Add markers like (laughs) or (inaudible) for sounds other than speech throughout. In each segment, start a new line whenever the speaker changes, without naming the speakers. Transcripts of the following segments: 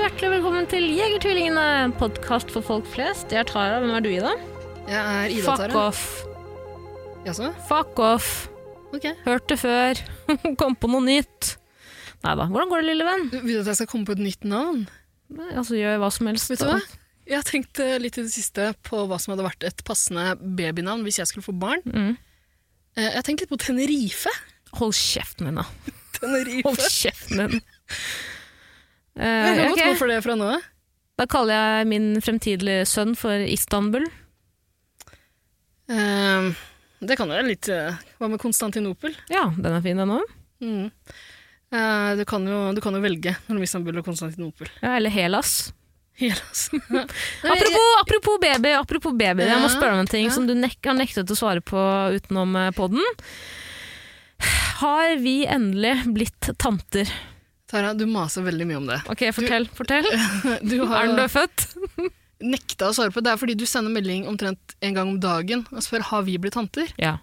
hjertelig velkommen til Jegertvillingene, en podkast for folk flest. Jeg er Tara, hvem er du, Ida?
Jeg er Ida
Fuck
Tara.
off.
Jaså?
Fuck off.
Ok.
Hørt det før. (laughs) Kom på noe nytt. Nei da. Hvordan går det, lille venn?
Du vil at jeg skal komme på et nytt navn?
Nei, Altså, gjør hva som helst.
Vet du hva? Jeg har tenkt eh, litt i det siste på hva som hadde vært et passende babynavn hvis jeg skulle få barn.
Mm.
Eh, Jeg har tenkt litt på
(laughs)
Tenerife.
Hold kjeften din, da. Hold
Tenerife.
kjeften
(laughs)
din. Eh,
Jeg kan
ok.
godt gå for det fra nå av.
Da kaller jeg min fremtidige sønn for Istanbul.
Eh, Det kan jo være litt eh, Hva med Konstantinopel?
Ja, den er fin, den òg.
Mm. Eh, Du, kan jo, du kan jo velge mellom Istanbul og Konstantinopel. (laughs)
Ja, eller Hellas.
Hellas.
Apropos, apropos baby, apropos baby. Jeg må
Ja,
spørre om en ting
ja.
som du nek har nektet å svare på utenom eh, podden. Har vi endelig blitt tanter?
Tara, du maser veldig mye om det.
Ok, fortell. (laughs) fortell.
Du
(laughs) Er den dødfødt?
nekta å svare på. Det er fordi du sender melding omtrent en gang om dagen og spør har vi blitt tanter.
Ja.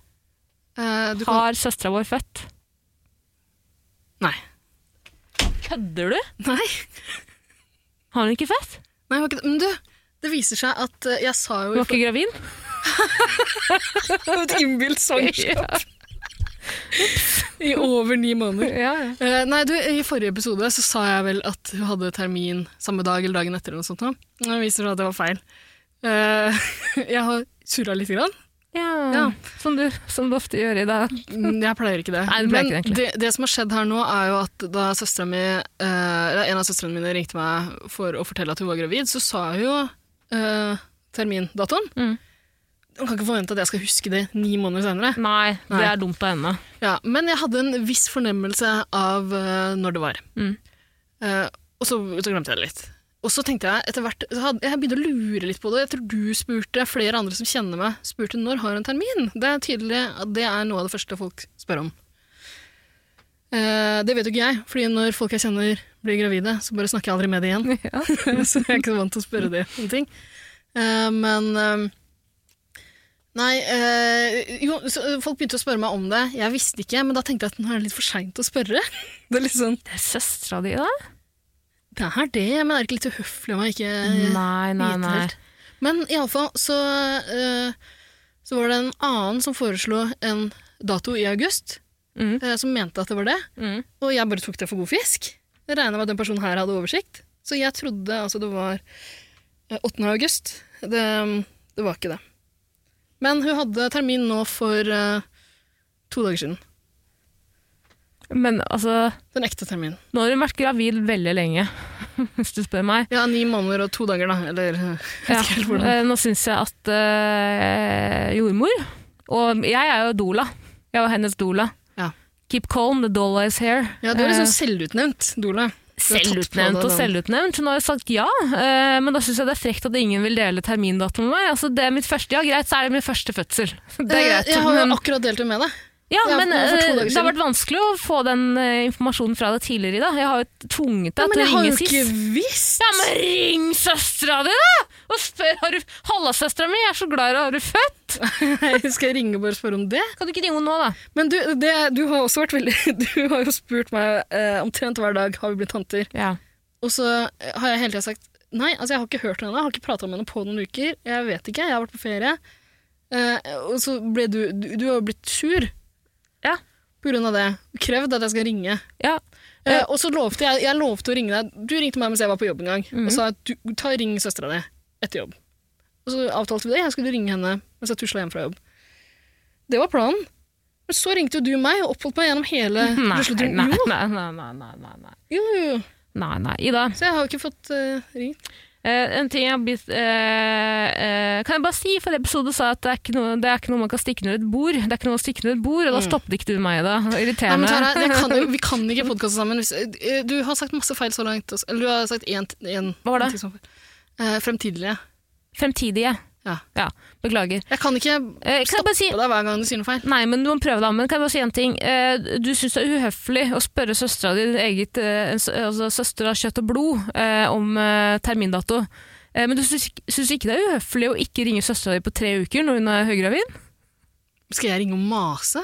Eh, du kan...
Har søstera vår født?
Nei.
Kødder du?
Nei.
Har hun ikke født?
Nei, jeg har ikke det. Men du, det viser seg at eh, jeg sa jo
Hun
i
var ikke gravid?
(laughs) for- et innbilt svangerskap (laughs) i over ni måneder.
(laughs) Ja, ja.
Eh, nei, du, I forrige episode så sa jeg vel at hun hadde termin samme dag eller dagen etter. eller noe sånt. nå. Det viser seg at det var feil. Eh, (laughs) jeg har surra lite grann.
ja.
Ja.
Som, du, som du ofte gjør i dag.
Mm, Jeg pleier ikke det.
Nei, du pleier ikke det,
Men det, det som har skjedd her nå, er jo at da søstera mi eh, eller En av søstrene mine ringte meg for å fortelle at hun var gravid, så sa hun jo eh, termindatoen.
Mm.
Hun kan ikke forvente at jeg skal huske det ni måneder senere.
Nei, det
Nei.
er dumt av (laughs) henne.
Ja, men jeg hadde en viss fornemmelse av eh, når det var.
Mm.
Eh, og så, så glemte jeg det litt. Og så tenkte jeg etter hvert, så hadde, jeg begynte å lure litt på det. Jeg tror du spurte, flere andre som kjenner meg, spurte når har en termin. Det er tydelig at det er noe av det første folk spør om. Eh, det vet jo ikke jeg, fordi når folk jeg kjenner blir gravide, så bare snakker jeg aldri med det igjen. (laughs) så jeg er ikke så vant til å spørre det om ting. Eh, men eh, Nei, eh, jo, så, eh, folk begynte å spørre meg om det. Jeg visste ikke, men da tenkte jeg at nå er det litt for seint å spørre. (laughs) Det er litt sånn
Det er søstera di, da?
det er det, men er det ikke litt uhøflig om jeg ikke
Nei, nei,
vite
nei.
helt? Men iallfall så, eh, så var det en annen som foreslo en dato i august,
Mm.
eh, som mente at det var det.
Mm.
Og jeg bare tok det for god fisk. Jeg regna med at den personen her hadde oversikt. Så jeg trodde altså det var eh, 8. august. Det, det var ikke det. Men hun hadde termin nå for eh, to dager siden.
Men altså
Den ekte terminen.
Nå har hun vært gravid veldig lenge, (laughs) hvis du spør meg.
Ja, ni måneder og to dager, da. Eller eh,
Ja.
vet ikke helt hvordan.
eh, Nå syns jeg at eh, jordmor Og jeg er jo doula. Jeg var hennes doula.
Ja.
Keep calm, the doula is here.
Ja, du er liksom
Eh,
selvutnevnt, Dola. du har tatt på
Selvutnevnt
deg
og
den.
selvutnevnt. Hun har jo sagt ja, eh, men da syns jeg det er frekt at ingen vil dele termindato med meg. Altså, det er mitt første, ja, greit, så er det min første fødsel. (laughs) Det er greit.
Eh, Jeg har jo
men-
akkurat delt det med deg.
Ja,
Ja,
men
for to
eh,
dager
det har
siden.
vært vanskelig å få den eh, informasjonen fra deg tidligere i dag. Jeg har jo tvunget
Ja,
deg
men
til
jeg
å
har jo
ringe SIS.
ikke visst!
Ja,
(laughs)
men ring søstera di, da! Og spør har du Halla, søstera mi, jeg er så glad i deg, har du født?
Skal jeg ringe og bare spørre om det?
Kan du ikke ringe henne nå, da?
Men du, det, du har også vært veldig (laughs) Du har jo spurt meg eh, omtrent hver dag har vi blitt tanter.
Ja.
Og så eh, har jeg hele tida sagt nei, altså jeg har ikke hørt henne, jeg har ikke prata med henne på noen uker. Jeg vet ikke, jeg har vært på ferie. Eh, og så ble du Du, du har jo blitt sur
Ja.
på grunn av det. Krevd at jeg skal ringe.
ja.
Eh, og så lovte jeg, jeg lovte å ringe deg. Du ringte meg mens jeg var på jobb en gang,
Mhm.
og sa at du, ta og ring søstera di etter jobb. Og så avtalte vi det. Jeg skulle ringe henne mens jeg tusla hjem fra jobb. Det var planen. Men så ringte jo du meg og oppholdt meg gjennom hele
(laughs) Nei, nei,
rusleturen.
nei,
Jo,
nei, nei, nei, nei, nei.
jo, jo.
Nei, nei, Ida.
Så jeg har jo ikke fått eh, ringt.
Eh, en ting jeg har blitt eh, eh, Kan jeg bare si, for episode sa jeg at det er, ikke noe, det er ikke noe man kan stikke under et bord. Det er ikke noe å stikke under et bord, og da stoppet ikke du meg, Ida. Det var
Nei, men
Irriterende.
Tara, jeg kan,
(laughs)
jo- vi kan ikke podkaste sammen. Hvis, eh, du har sagt masse feil så langt. altså. Eller du har sagt én
Hva var det?
Fremtidige.
Fremtidige.
Ja.
Ja, beklager.
Jeg kan ikke
Eh, kan jeg bare si
stoppe deg hver gang du sier noe feil.
Nei, men du må prøve da, men kan jeg bare si en ting? Eh, du syns det er uhøflig å spørre søstera di, din eget, eh, s- altså søster av kjøtt og blod, eh, om eh, termindato. Eh, men du syns ikke- syns ikke det er uhøflig å ikke ringe søstera di på tre uker når hun er høygravid?
Skal jeg ringe og mase?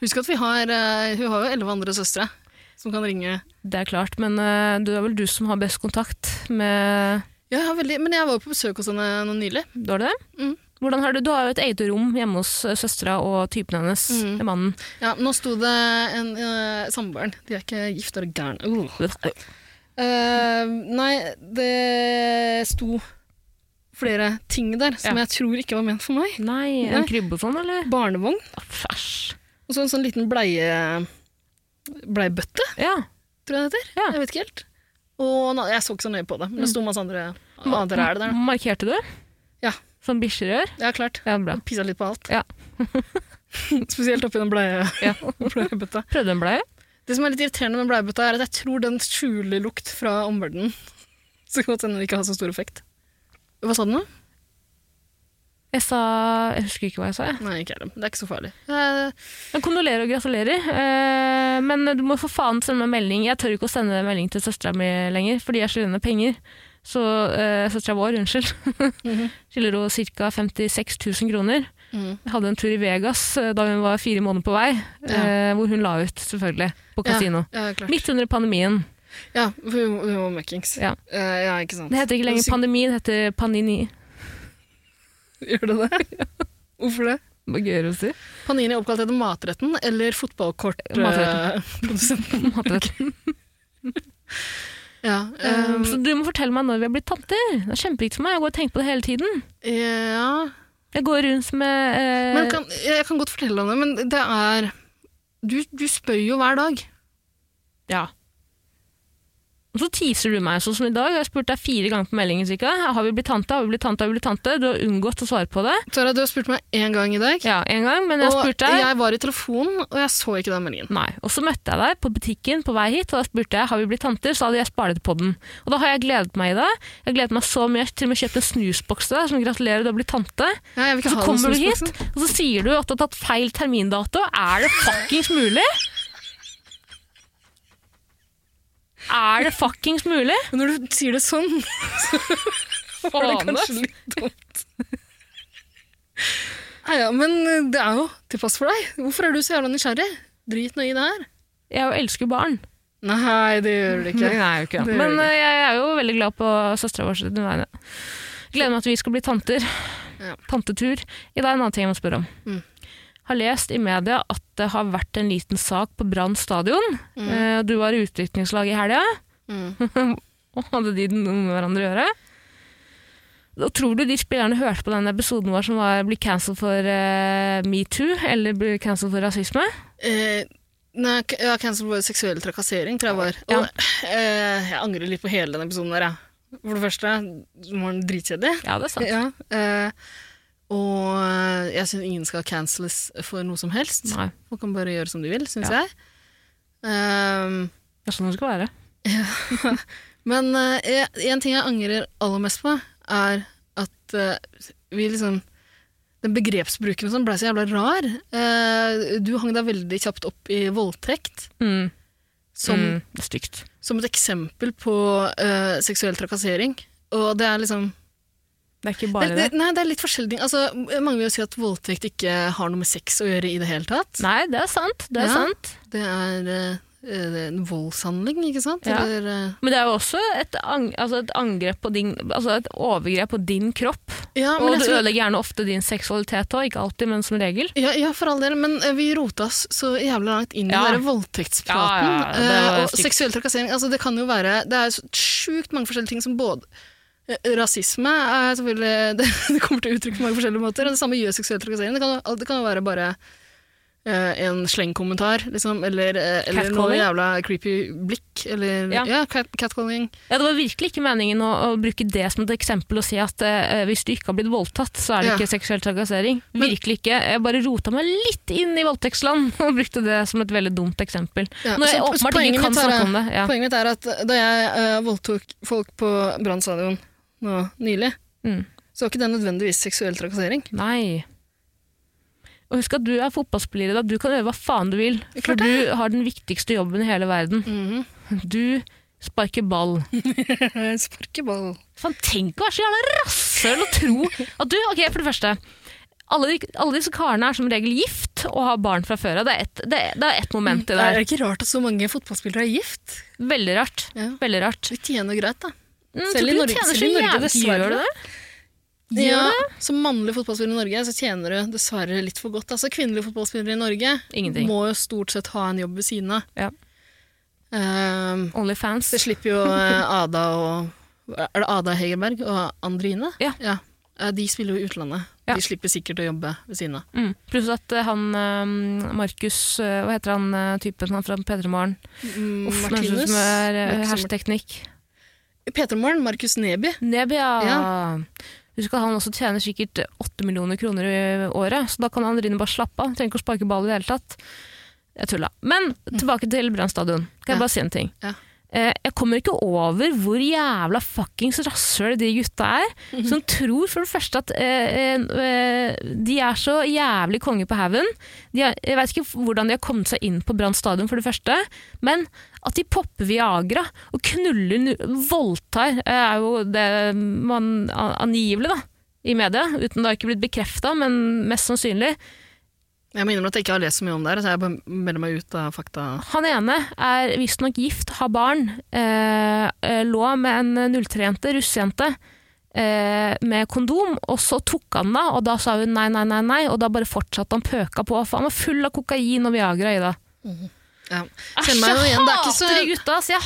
Husk at vi har, eh, hun har jo elleve andre søstre som kan ringe.
Det er klart, men eh, det er vel du som har best kontakt med
Ja, jeg har veldig, men jeg var jo på besøk hos henne nå nylig.
Du har det?
Mm.
Hvordan har du, du har jo et eget rom hjemme hos eh, søstera og typen hennes,
Mm.
mannen.
Ja, nå sto det en uh, samboeren. De er ikke gift, er det gæren? Uh. Eh, nei, det sto flere ting der som
Ja.
jeg tror ikke var ment for meg.
Nei,
Nei.
en krybbe og sånn, eller?
Barnevogn,
Æsj.
og så en sånn liten bleie, bleiebøtte,
Ja.
tror jeg det heter.
Ja. Mm.
Jeg vet ikke helt. Og na- jeg så ikke så nøye på det, men det sto masse andre, andre er det der. da.
Markerte du?
Ja.
Som bikkjer gjør?
Ja, klart.
Ja, bra.
Pissa litt på alt.
Ja.
(laughs) Spesielt oppi den bleie,
(laughs)
(laughs)
Ja.
bleiebøtta.
Prøvde en bleie?
Det som er litt irriterende med bleiebøtta, er at jeg tror den skjuler lukt fra omverdenen. (laughs) Så godt den ikke har så stor effekt. Hva sa du nå?
Jeg sa Jeg husker ikke hva jeg sa. jeg.
Nei, ikke er det. Det er ikke så farlig. Eh,
Men Kondolerer og gratulerer. Eh, men du må for faen sende meg en melding. Jeg tør ikke å sende en melding til søstera mi lenger, fordi jeg skylder henne penger. Så eh, søstera vår, unnskyld,
Mhm.
skylder henne ca. 56 000 kroner.
Mhm.
Jeg hadde en tur i Vegas eh, da hun var fire måneder på vei, eh, hvor hun la ut, selvfølgelig, på kasino.
Ja, klart.
Midt under pandemien.
Ja, for hun hun var møkkings.
Ja.
Eh, ja, ikke sant.
Det heter ikke lenger
Syk-
pandemi, det heter panini.
(laughs) Gjør det det?
(laughs)
Hvorfor det?
Hva gøy å si.
Panini er oppkalt etter matretten eller eh, (laughs)
Matretten.
fotballkortprodusenten.
(laughs) Matretten.
ja,
Eh,
ehm,
Så du må fortelle meg når vi har blitt tanter. Det er kjempeviktig for meg. Jeg går og tenker på det hele tiden.
eh, ja.
Jeg går rundt med eh,
Men kan, jeg kan godt fortelle om det, men det er Du, du spør jo hver dag.
Ja. Og så teaser du meg sånn som i dag. Jeg har spurt deg fire ganger på meldingen. cirka. Har vi blitt tante? Har vi blitt tante? Har vi blitt tante? Du har unngått å svare på det.
Tara, du har spurt meg én gang i dag.
Ja, en gang, men jeg har
og
spurt deg.
jeg var i telefonen, og jeg så ikke den meldingen.
Nei. Og så møtte jeg deg på butikken på vei hit, og da spurte jeg har vi blitt tanter. Så hadde jeg spart det på den. Og da har jeg gledet meg i det. Jeg har gledet meg så mye. Jeg har til og med kjøpt en snusboks til deg som gratulerer, du har blitt tante.
Ja, jeg vil ikke
Så
ha den
kommer du hit,
snusboksen.
og så sier du at du har tatt feil termindato. Er det fuckings mulig? Er det fuckings mulig?
Men Når du sier det sånn, så var det
Faen, ass.
kanskje litt dumt. (laughs) Nei, ja, men det er jo til pass for deg. Hvorfor er du så jævla nysgjerrig? Drit nå i det her.
Jeg elsker barn.
Nei, det gjør du ikke.
Nei, jeg er jo ikke det.
Det gjør
Men
du
eh, jeg er jo veldig glad på søstera vår sine vegne. Gleder meg til vi skal bli tanter.
Ja.
Tantetur. I dag er en annen ting jeg må spørre om.
Mm.
Har lest i media at det har vært en liten sak på Brann stadion. Eh, Du var i utviklingslaget i helga. (laughs)
Mm.
Og hadde de noe med hverandre å gjøre? Og tror du de spillerne hørte på den episoden vår som var 'bli cancelled for eh, metoo' eller 'bli cancelled for rasisme'?
Eh, nei, k- ja, cancel var seksuell trakassering, tror jeg var. Og, eh, jeg angrer litt på hele den episoden der, jeg. For det første den var den dritkjedelig.
Ja, det er sant.
Ja, eh, og eh, jeg syns ingen skal canceles for noe som helst.
Nei,
Folk kan bare gjøre som de vil, syns
Ja.
jeg. Ehm,
det er sånn det skal være.
men eh, jeg- en ting jeg angrer aller mest på, er at eh, vi liksom Den begrepsbruken og sånn ble så jævla rar. Eh, du hang deg veldig kjapt opp i voldtekt
Mm.
som,
mm. Det er stygt.
som et eksempel på eh, seksuell trakassering. Og det er liksom
Det er ikke
det,
bare
er-
det.
det, Nei, det er litt forskjellig. Altså, mange vil jo si at voldtekt ikke har noe med sex å gjøre i det hele tatt.
Nei, det er sant. Det er
Ja.
sant.
Det er eh, eh, en voldshandling, ikke sant?
Ja.
Eller, eh,
Men det er jo også et, ang altså et angrep på din Altså et overgrep på din kropp.
ja, men
og
jeg
det
tror-
ødelegger gjerne ofte din seksualitet òg. Ikke alltid, men som regel.
Ja, ja, for all del, men eh, vi rota oss så jævlig langt inn
Ja.
i den der voldtektspraten.
Ja, ja, det var
eh, og
stygt.
seksuell trakassering. Altså, det kan jo være Det er så sjukt mange forskjellige ting som både eh, Rasisme er selvfølgelig (laughs) det, det kommer til uttrykk på mange forskjellige måter. Og det samme gjør seksuell trakassering. Det kan, jo- det kan jo være bare eh, en slengkommentar, liksom. Eller, eh, eller noe
Catcalling?
jævla creepy blikk. Eller
Ja.
ja, cat, catcalling.
Ja, Det var virkelig ikke meningen å, å bruke det som et eksempel og si at eh, hvis du ikke har blitt voldtatt, så er det
Ja.
ikke seksuell trakassering.
Men-
virkelig ikke. Jeg bare rota meg litt inn i voldtektsland (laughs) og brukte det som et veldig dumt eksempel.
Ja,
Når jeg
så- så
åpenbart
poenget
ikke kan
mitt er-
snakke om det. Ja.
Poenget mitt eh, er at da jeg eh, voldtok folk på Brann stadion nå nylig,
Mm.
så var ikke det nødvendigvis seksuell trakassering.
Nei. Og husk at du er fotballspiller, da. Du kan gjøre hva faen du vil.
Det Mhm. er
For
klart
du har den viktigste jobben i hele verden. Du sparker ball.
Sparkeball.
Fan, tenk å være så jævla rasshøl og tro at du Ok, for det første. Alle, de, alle disse karene er som regel gift og har barn fra før av. Det er ett det, det er ett moment i det
Mm, Det
her.
er ikke rart at så mange fotballspillere er gift.
Veldig rart.
Ja.
Veldig rart.
De tjener greit, da.
Mm,
Selv
tror
i
du
Norge-
tjener
selv
så
i Norge,
jævlig-
dessverre.
Gjør du det? Gjør
Ja, som mannlig fotballspiller i Norge så tjener du dessverre litt for godt. Altså, Kvinnelige fotballspillere i Norge
Ingenting.
må jo stort sett ha en jobb ved siden av.
Ja.
Ehm,
Onlyfans.
det slipper jo eh, Ada og Er det Ada Hegerberg og Andrine?
Ja.
Eh, De spiller jo i utlandet.
Ja.
De slipper sikkert å jobbe ved siden av.
Mm. Pluss at eh, han eh, Markus eh, Hva heter han eh, typen han fra P3 Morgen?
Mm,
Uff, nå høres det ut
Martinus.
som er eh,
Marcus-
hersketeknikk.
P3morgen, Markus Neby.
Nebia. Husk at han også tjener sikkert 8 millioner kroner i året, så da kan han bare slappe av. Trenger ikke å sparke ball i det hele tatt. Jeg tulla. Men tilbake til Brann stadion. Kan jeg
Ja.
bare si en ting?
Ja.
Eh, Jeg kommer ikke over hvor jævla fuckings rasshøl de gutta er,
Mhm.
som tror for det første at eh, eh, eh, de er så jævlig konge på haugen. De er- Jeg veit ikke hvordan de har kommet seg inn på Brann stadion, for det første, men at de popper Viagra og knuller nu- voldtar, eh, er jo det Eh, man a- angivelig, da, i media, uten det har ikke blitt bekrefta, men mest sannsynlig.
Jeg må innrømme at jeg ikke har lest så mye om det her, så jeg bare melder meg ut av fakta.
Han ene er visstnok gift, har barn, eh, eh, lå med en 03-jente, russejente, eh, med kondom, og så tok han da, og da sa hun nei, nei, nei, nei, og da bare fortsatte han pøka på, for han var full av kokain og Viagra i det.
Ja.
Æsj,
Kjenner meg jo
jeg
igjen. Det er
Ah, hater
ikke så-
de gutta, ass, jeg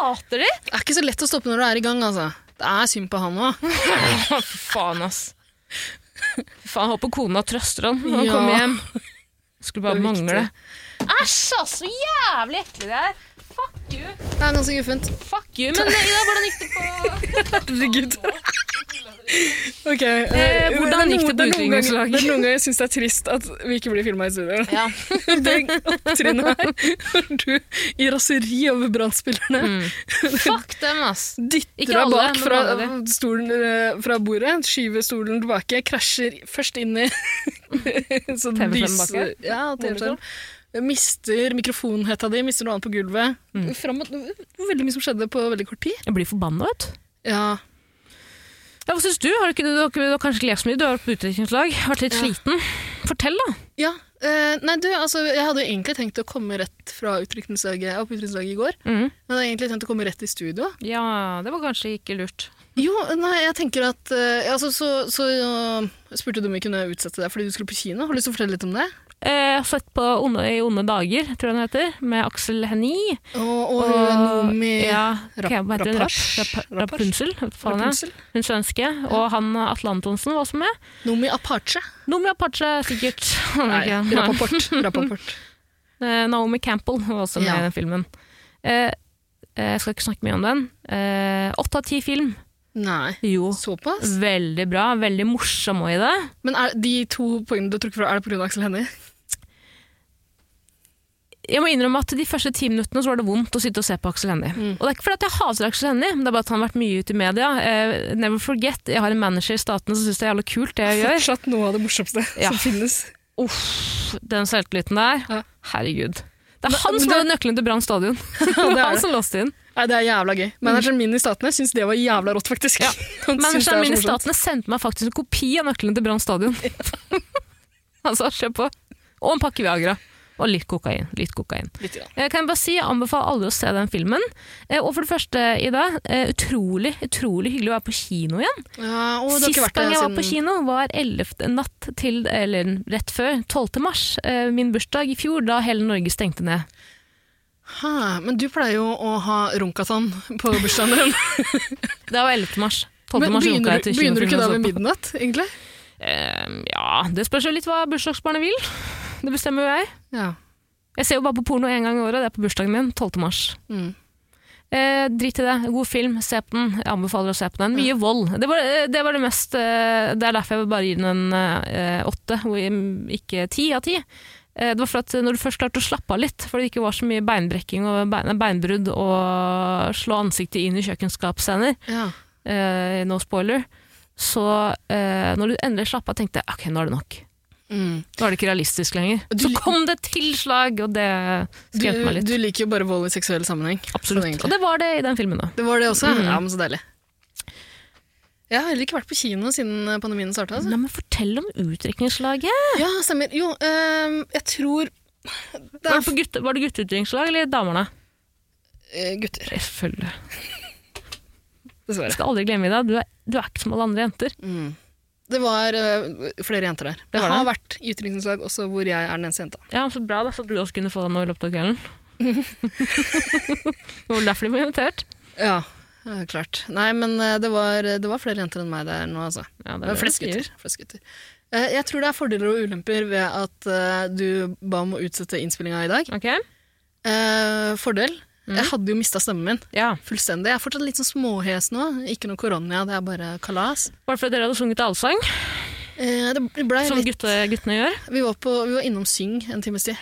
hater de!
Det er ikke så lett å stoppe når du er i gang, altså. Det er synd på han òg.
Å, Fy faen, ass. Fy faen, håper kona trøster han når han
Ja.
kommer hjem. Skulle bare
Det er
mangle. Æsj, ass, så jævlig ekle de er! Fuck you!
Det er ganske guffent.
Fuck you, men Ida, hvordan gikk det på
Herregud. Ok,
Eh, hvordan gikk det på
er noen ganger-
utviklingslag?
Det er noen ganger jeg syns det er trist at vi ikke blir filma i studio.
(laughs) Ja.
Det opptrinnet her, hvor du i raseri over brannspillerne
Mm. Fuck dem, ass. Ikke
dytter deg
alle,
bak
men
fra,
alle.
stolen, eh, fra bordet, skyver stolen tilbake, krasjer først inn i (laughs) sånn
TV-skjermen
lys-
bak her?
Ja, TV-skjerm. Mister mikrofonhetta di, mister noe annet på gulvet.
Mm.
Fram og- veldig mye som skjedde på veldig kort tid.
Jeg blir forbanna, vet du.
Ja,
Ja, hva syns du? Har du, ikke, du, har ikke, du har kanskje ikke lest så mye, du har vært på utviklingslag, vært litt
Ja.
sliten. Fortell, da.
Ja, eh, nei du, altså Jeg hadde jo egentlig tenkt å komme rett fra utrykningslaget, ja, på utrykningslaget i går.
Mm.
Men jeg hadde egentlig tenkt å komme rett i studio.
Ja, det var kanskje ikke lurt.
Jo, nei, jeg tenker at eh, altså, Så, så ja, spurte du om vi kunne utsette deg fordi du skulle på kino. Har du lyst til å fortelle litt om det?
Eh, jeg har sett på onde, I onde dager, tror jeg den heter, med Aksel Hennie.
Og, og, og Nomi
ja,
Rap-
hva heter hun? Rap,
Rapace?
rap, Rapunzel, hva faen er det?
Rapunzel.
hun svenske. Og han Atle Antonsen var også med.
Nomi Apache.
Nomi Apache, sikkert.
(laughs) Nei,
Ikke, nei. (laughs)
Rappaport. Rappaport.
Eh, Naomi Campbell var også med
Ja.
i den filmen. Eh, eh, jeg skal ikke snakke mye om den. Eh, Åtte av ti film.
Nei.
Jo. Mm.
Såpass?
Veldig bra, veldig morsom òg i det.
Men er de to poengene du trukket fra, er det pga. Aksel Hennie?
Jeg må innrømme at De første ti minuttene så var det vondt å sitte og se på Aksel Hennie.
Mm.
Og Det er ikke fordi at jeg hater Aksel Hennie, men det er bare at han har vært mye ute i media. Eh, never forget, jeg har en manager i statene som syns det er jævla kult, det jeg
(laughs)
gjør.
Fortsatt noe av det morsomste
Ja.
som finnes.
(laughs) Uff, den selvtilliten der.
Ja.
Herregud. Det er
Men-
han
men
som
det-
hadde nøkkelen til Brann stadion.
Ja,
det
det
var
er
han
det.
som låste inn.
Nei, det er jævla gøy. Manageren min i Statene syns det var jævla rått, faktisk.
Ja.
(laughs) Han syns det er
Manageren min i
så morsomt.
Statene sendte meg faktisk en kopi av nøkkelen til Brann stadion. (laughs) Han sa kjøp på. Og en pakke Viagra. Og litt kokain. Litt kokain.
Litt grann.
Jeg kan bare si, jeg anbefaler alle å se den filmen. Eh, Og for det første, Ida, eh, utrolig, utrolig hyggelig å være på kino igjen.
Ja, og det har
Sist
ikke vært det
gang jeg var på
siden-
kino var 11. natt til, eller rett før, 12. mars, eh, min bursdag i fjor, da hele Norge stengte ned.
Hæ, men du pleier jo å ha runkatan på bursdagen din.
Det var 11. mars. 12.
men
mars runka
begynner,
jeg
du-
til
begynner du ikke da
kinofilmen
ved
og så på.
midnatt, egentlig?
Eh, Ja, det spørs jo litt hva bursdagsbarnet vil. Det bestemmer jo jeg.
Ja.
Jeg ser jo bare på porno én gang i året, det er på bursdagen min, 12. mars.
Mm.
Eh, drit i det. God film, se på den. Jeg anbefaler å se på den. Mye vold. Det var eh, det, var det mest eh, Det er derfor jeg bare gir den en eh, åtte, og i- ikke ti av ti. Eh, det var for at når du først klarte å slappe av litt, fordi det ikke var så mye beinbrekking og bein, beinbrudd og slå ansiktet inn i kjøkkenskapsscener,
ja.
eh, no spoiler, Så eh, når du endelig slapp av, tenkte jeg ok, nå er det nok.
Mm.
Nå er det ikke realistisk lenger.
Du-
så kom det et tilslag, og det
Du,
skremte meg litt.
du liker jo bare vold i seksuell sammenheng. Sånn,
Absolutt.
egentlig.
Og det var det i den filmen, da.
Det var det også?
Mm.
Ja, men så deilig. Jeg har heller ikke vært på kino siden eh, pandemien starta. Altså.
Nei, men fortell om utdrikningslaget.
Ja, stemmer. Jo, ehm, jeg tror det
Var
er
det, på gutte, var det gutteutdrikningslag eller damerne?
eh, gutter,
Selvfølgelig. Jeg
dessverre.
skal aldri glemme deg. Du er, du er ikke som alle andre jenter.
Mm. Det var eh, flere jenter der.
Det
Det
var
har vært i utdrikningslag også hvor jeg er den eneste jenta.
Ja, så bra da, så du også kunne få deg noe i løpet av (laughs) kvelden. det var derfor de ble invitert.
Ja, eh, klart. Nei, men eh, det var, det var flere jenter enn meg der nå, altså.
Ja,
Det er flest
de
gutter.
sier.
Flest gutter. Eh, Jeg tror det er fordeler og ulemper ved at eh, du ba om å utsette innspillinga i dag.
Ok,
Eh, Fordel.
Mm.
Jeg hadde jo mista stemmen min.
ja.
Fullstendig. Jeg er fortsatt litt sånn småhes nå. Ikke noe korona, det er bare kalas.
Bare fordi dere hadde sunget allsang,
Eh, Det ble
som
litt,
gutte, guttene gjør.
vi, var på, vi var innom Syng en times tid.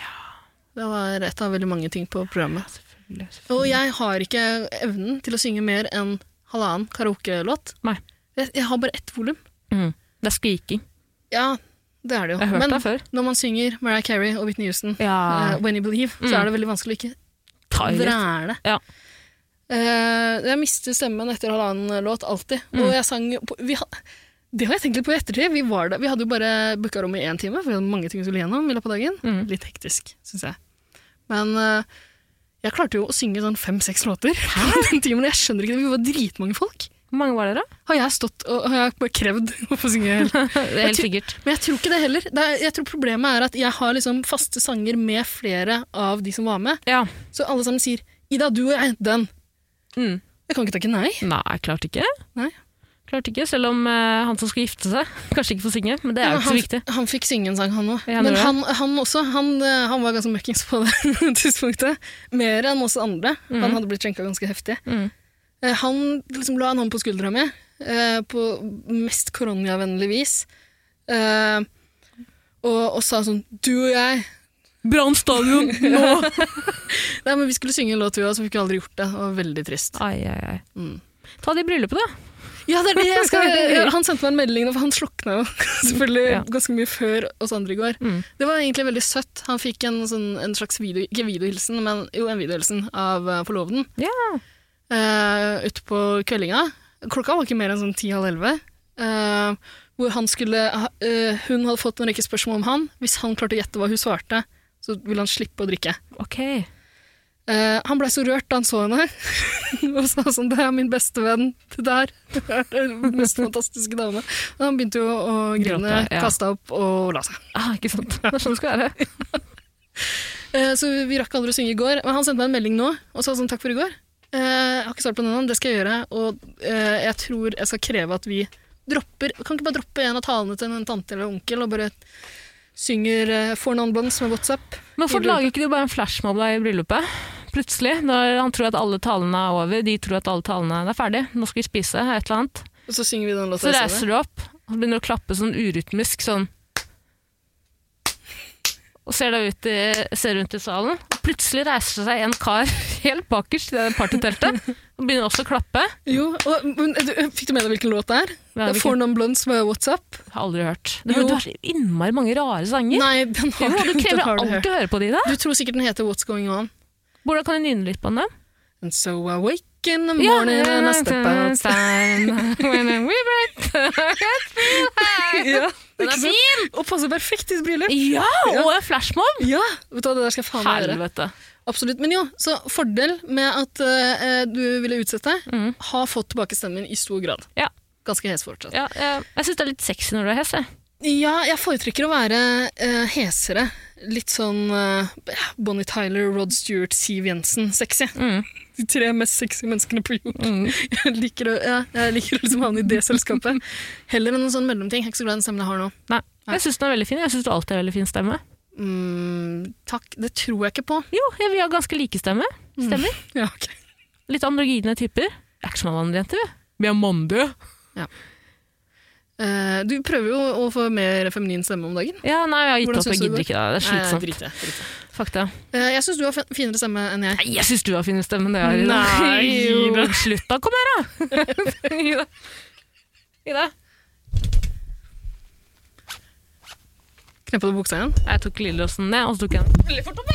Det var et av veldig mange ting på programmet.
Mm.
Og jeg har ikke evnen til å synge mer enn halvannen karaokelåt.
Nei.
Jeg, jeg har bare ett volum.
Mm. Det er skriking.
Ja, det er det jo.
Jeg har hørt
Men
det før.
når man synger Mariah Carey og Whitney Houston, eh, When You Believe,
Mm.
så er det veldig vanskelig å ikke
Ta i litt.
Vræle.
Ja.
Eh, jeg mister stemmen etter halvannen låt, alltid.
Mm.
Og jeg sang på, vi, ha- Det har jeg tenkt litt på i ettertid. Vi, var der, vi hadde jo bare booka rom i én time, for vi hadde mange ting vi skulle gjennom i løpet av dagen.
Mm.
Litt hektisk, syns jeg. Men eh, jeg klarte jo å synge sånn fem-seks låter (laughs) på den timen. og Jeg skjønner ikke det. Vi var dritmange folk.
Hvor mange var dere?
Har jeg stått og har jeg bare krevd å få synge hele
(laughs) Det er helt sikkert.
Men jeg tror ikke det heller. Det er, jeg tror Problemet er at jeg har liksom faste sanger med flere av de som var med.
Ja.
Så alle sammen sier 'Ida, du og jeg, den'.
Mm.
Jeg kan ikke takke nei.
Nei, klart ikke.
Nei.
Klart ikke, selv om eh, han som skulle gifte seg, (laughs) kanskje ikke får synge, men det er jo ikke så viktig.
Han, han fikk synge en sang, han òg.
Ja, han
Men
gjorde
han, han også, han, eh, han var ganske møkkings på det (laughs) tidspunktet. Mer enn oss andre.
Mhm.
Han hadde blitt skjenka ganske heftig.
Mm.
Eh, Han liksom la en hånd på skuldra mi, eh, på mest koronavennlig vis. Eh, og, og sa sånn Du og jeg
Brann stadion, (laughs) nå!
Nei, men Vi skulle synge en låt, vi òg, så fikk vi aldri gjort det. Det var veldig trist.
ai, ai, ai.
Mm.
Ta det i bryllupet, da.
Ja, det er det jeg
(laughs)
skal ja, Han sendte meg en melding, nå, for han slokna jo (laughs) selvfølgelig
Ja.
ganske mye før oss andre i går.
Mm.
Det var egentlig veldig søtt. Han fikk en, sånn, en slags video, ikke videohilsen, men jo, en videohilsen av eh, forloveden eh, ute på kveldinga. Klokka var ikke mer enn sånn ti-halv elleve. eh, hvor han skulle, ha- eh, hun hadde fått en rekke spørsmål om han. Hvis han klarte å gjette hva hun svarte, så ville han slippe å drikke.
Ok.
Eh, han blei så rørt da han så henne, (laughs) og sa sånn 'Det er min beste venn. Det der er den mest fantastiske dame.' Og han begynte jo å grine,
Gråte, ja.
kasta opp og la seg.
Ah, ikke sant. Det er sånn det skal være.
Eh, Så vi rakk aldri å synge i går. Men han sendte meg en melding nå og sa sånn takk for i går. Eh, Jeg har ikke svart på den ennå, det skal jeg gjøre. Og eh, jeg tror jeg skal kreve at vi dropper Kan ikke bare droppe en av talene til en tante eller onkel og bare synger eh, For non blondes med WhatsApp.
Men hvorfor lager ikke de bare en flashmob da i bryllupet? Plutselig, når han tror at alle talene er over, de tror at alle talene er ferdig, nå skal vi spise, et eller annet.
Og så synger vi den låta.
Så
i stedet.
reiser du opp, og begynner å klappe sånn urytmisk, sånn. Og ser, deg ut i, ser rundt i salen, og plutselig reiser det seg en kar (laughs) helt bakerst i det partyteltet, og begynner også å klappe.
Jo, og, men, du, Fikk du med deg hvilken låt det er?
Nei,
Det er
hvilken-
For non blondes med WhatsApp.
Har aldri hørt. Du,
Jo.
du har så innmari mange rare sanger.
Nei, den
Jo,
har,
du
den
krever
har du
alltid
hørt.
å høre på de da.
Du tror sikkert den heter What's Going On.
Hvordan kan du nynne litt på den da?
And so I wake in the morning and I step out.
(laughs)
(laughs) Ja,
Den
ikke
er
sant?
fin!
Og passer perfekt i et bryllup.
Ja, og en flashmob!
Ja, vet du hva, det der skal jeg faen meg gjøre.
Helvete.
Absolutt. Men jo, så fordel med at eh, du ville utsette,
Mm.
har fått tilbake stemmen i stor grad.
Ja.
Ganske hes fortsatt. Ja.
Ja, jeg jeg syns det er litt sexy når du er hes. jeg.
jeg foretrekker å være eh, hesere. Litt sånn eh, Bonnie Tyler, Rod Stewart, Siv Jensen-sexy.
Mm.
De tre mest sexy menneskene på jord.
Mm.
(laughs) Jeg liker å, ja, jeg liker å liksom havne i det selskapet. Heller enn en sånn mellomting. Jeg er ikke så glad i den stemmen jeg har nå.
Nei, jeg syns den er veldig fin. Jeg syns du alltid har veldig fin stemme.
Mm, takk, det tror jeg ikke på.
Jo, jeg vil ha ganske like stemme. Stemmer.
Ja, ok.
Litt androgyne typer. Det er ikke som alle andre jenter, vi. Vi er mandige.
Eh, du prøver jo å få mer feminin stemme om dagen.
Ja, nei, jeg har gitt
Hvordan
opp. Jeg
synes du
gidder
det?
ikke. da. Det er
Nei,
slitsomt.
drit i det, drit i det.
Fakta.
Eh, jeg syns du har fin- finere stemme enn jeg.
Nei, jeg syns du har finere stemme enn det jeg (laughs) har.
Nei,
Jo,
Ida.
(laughs) Slutt da, kom her da. Ida. Ida.
Kneppa du buksa igjen?
Jeg tok lillelåsen ned, og så tok jeg den veldig fort opp.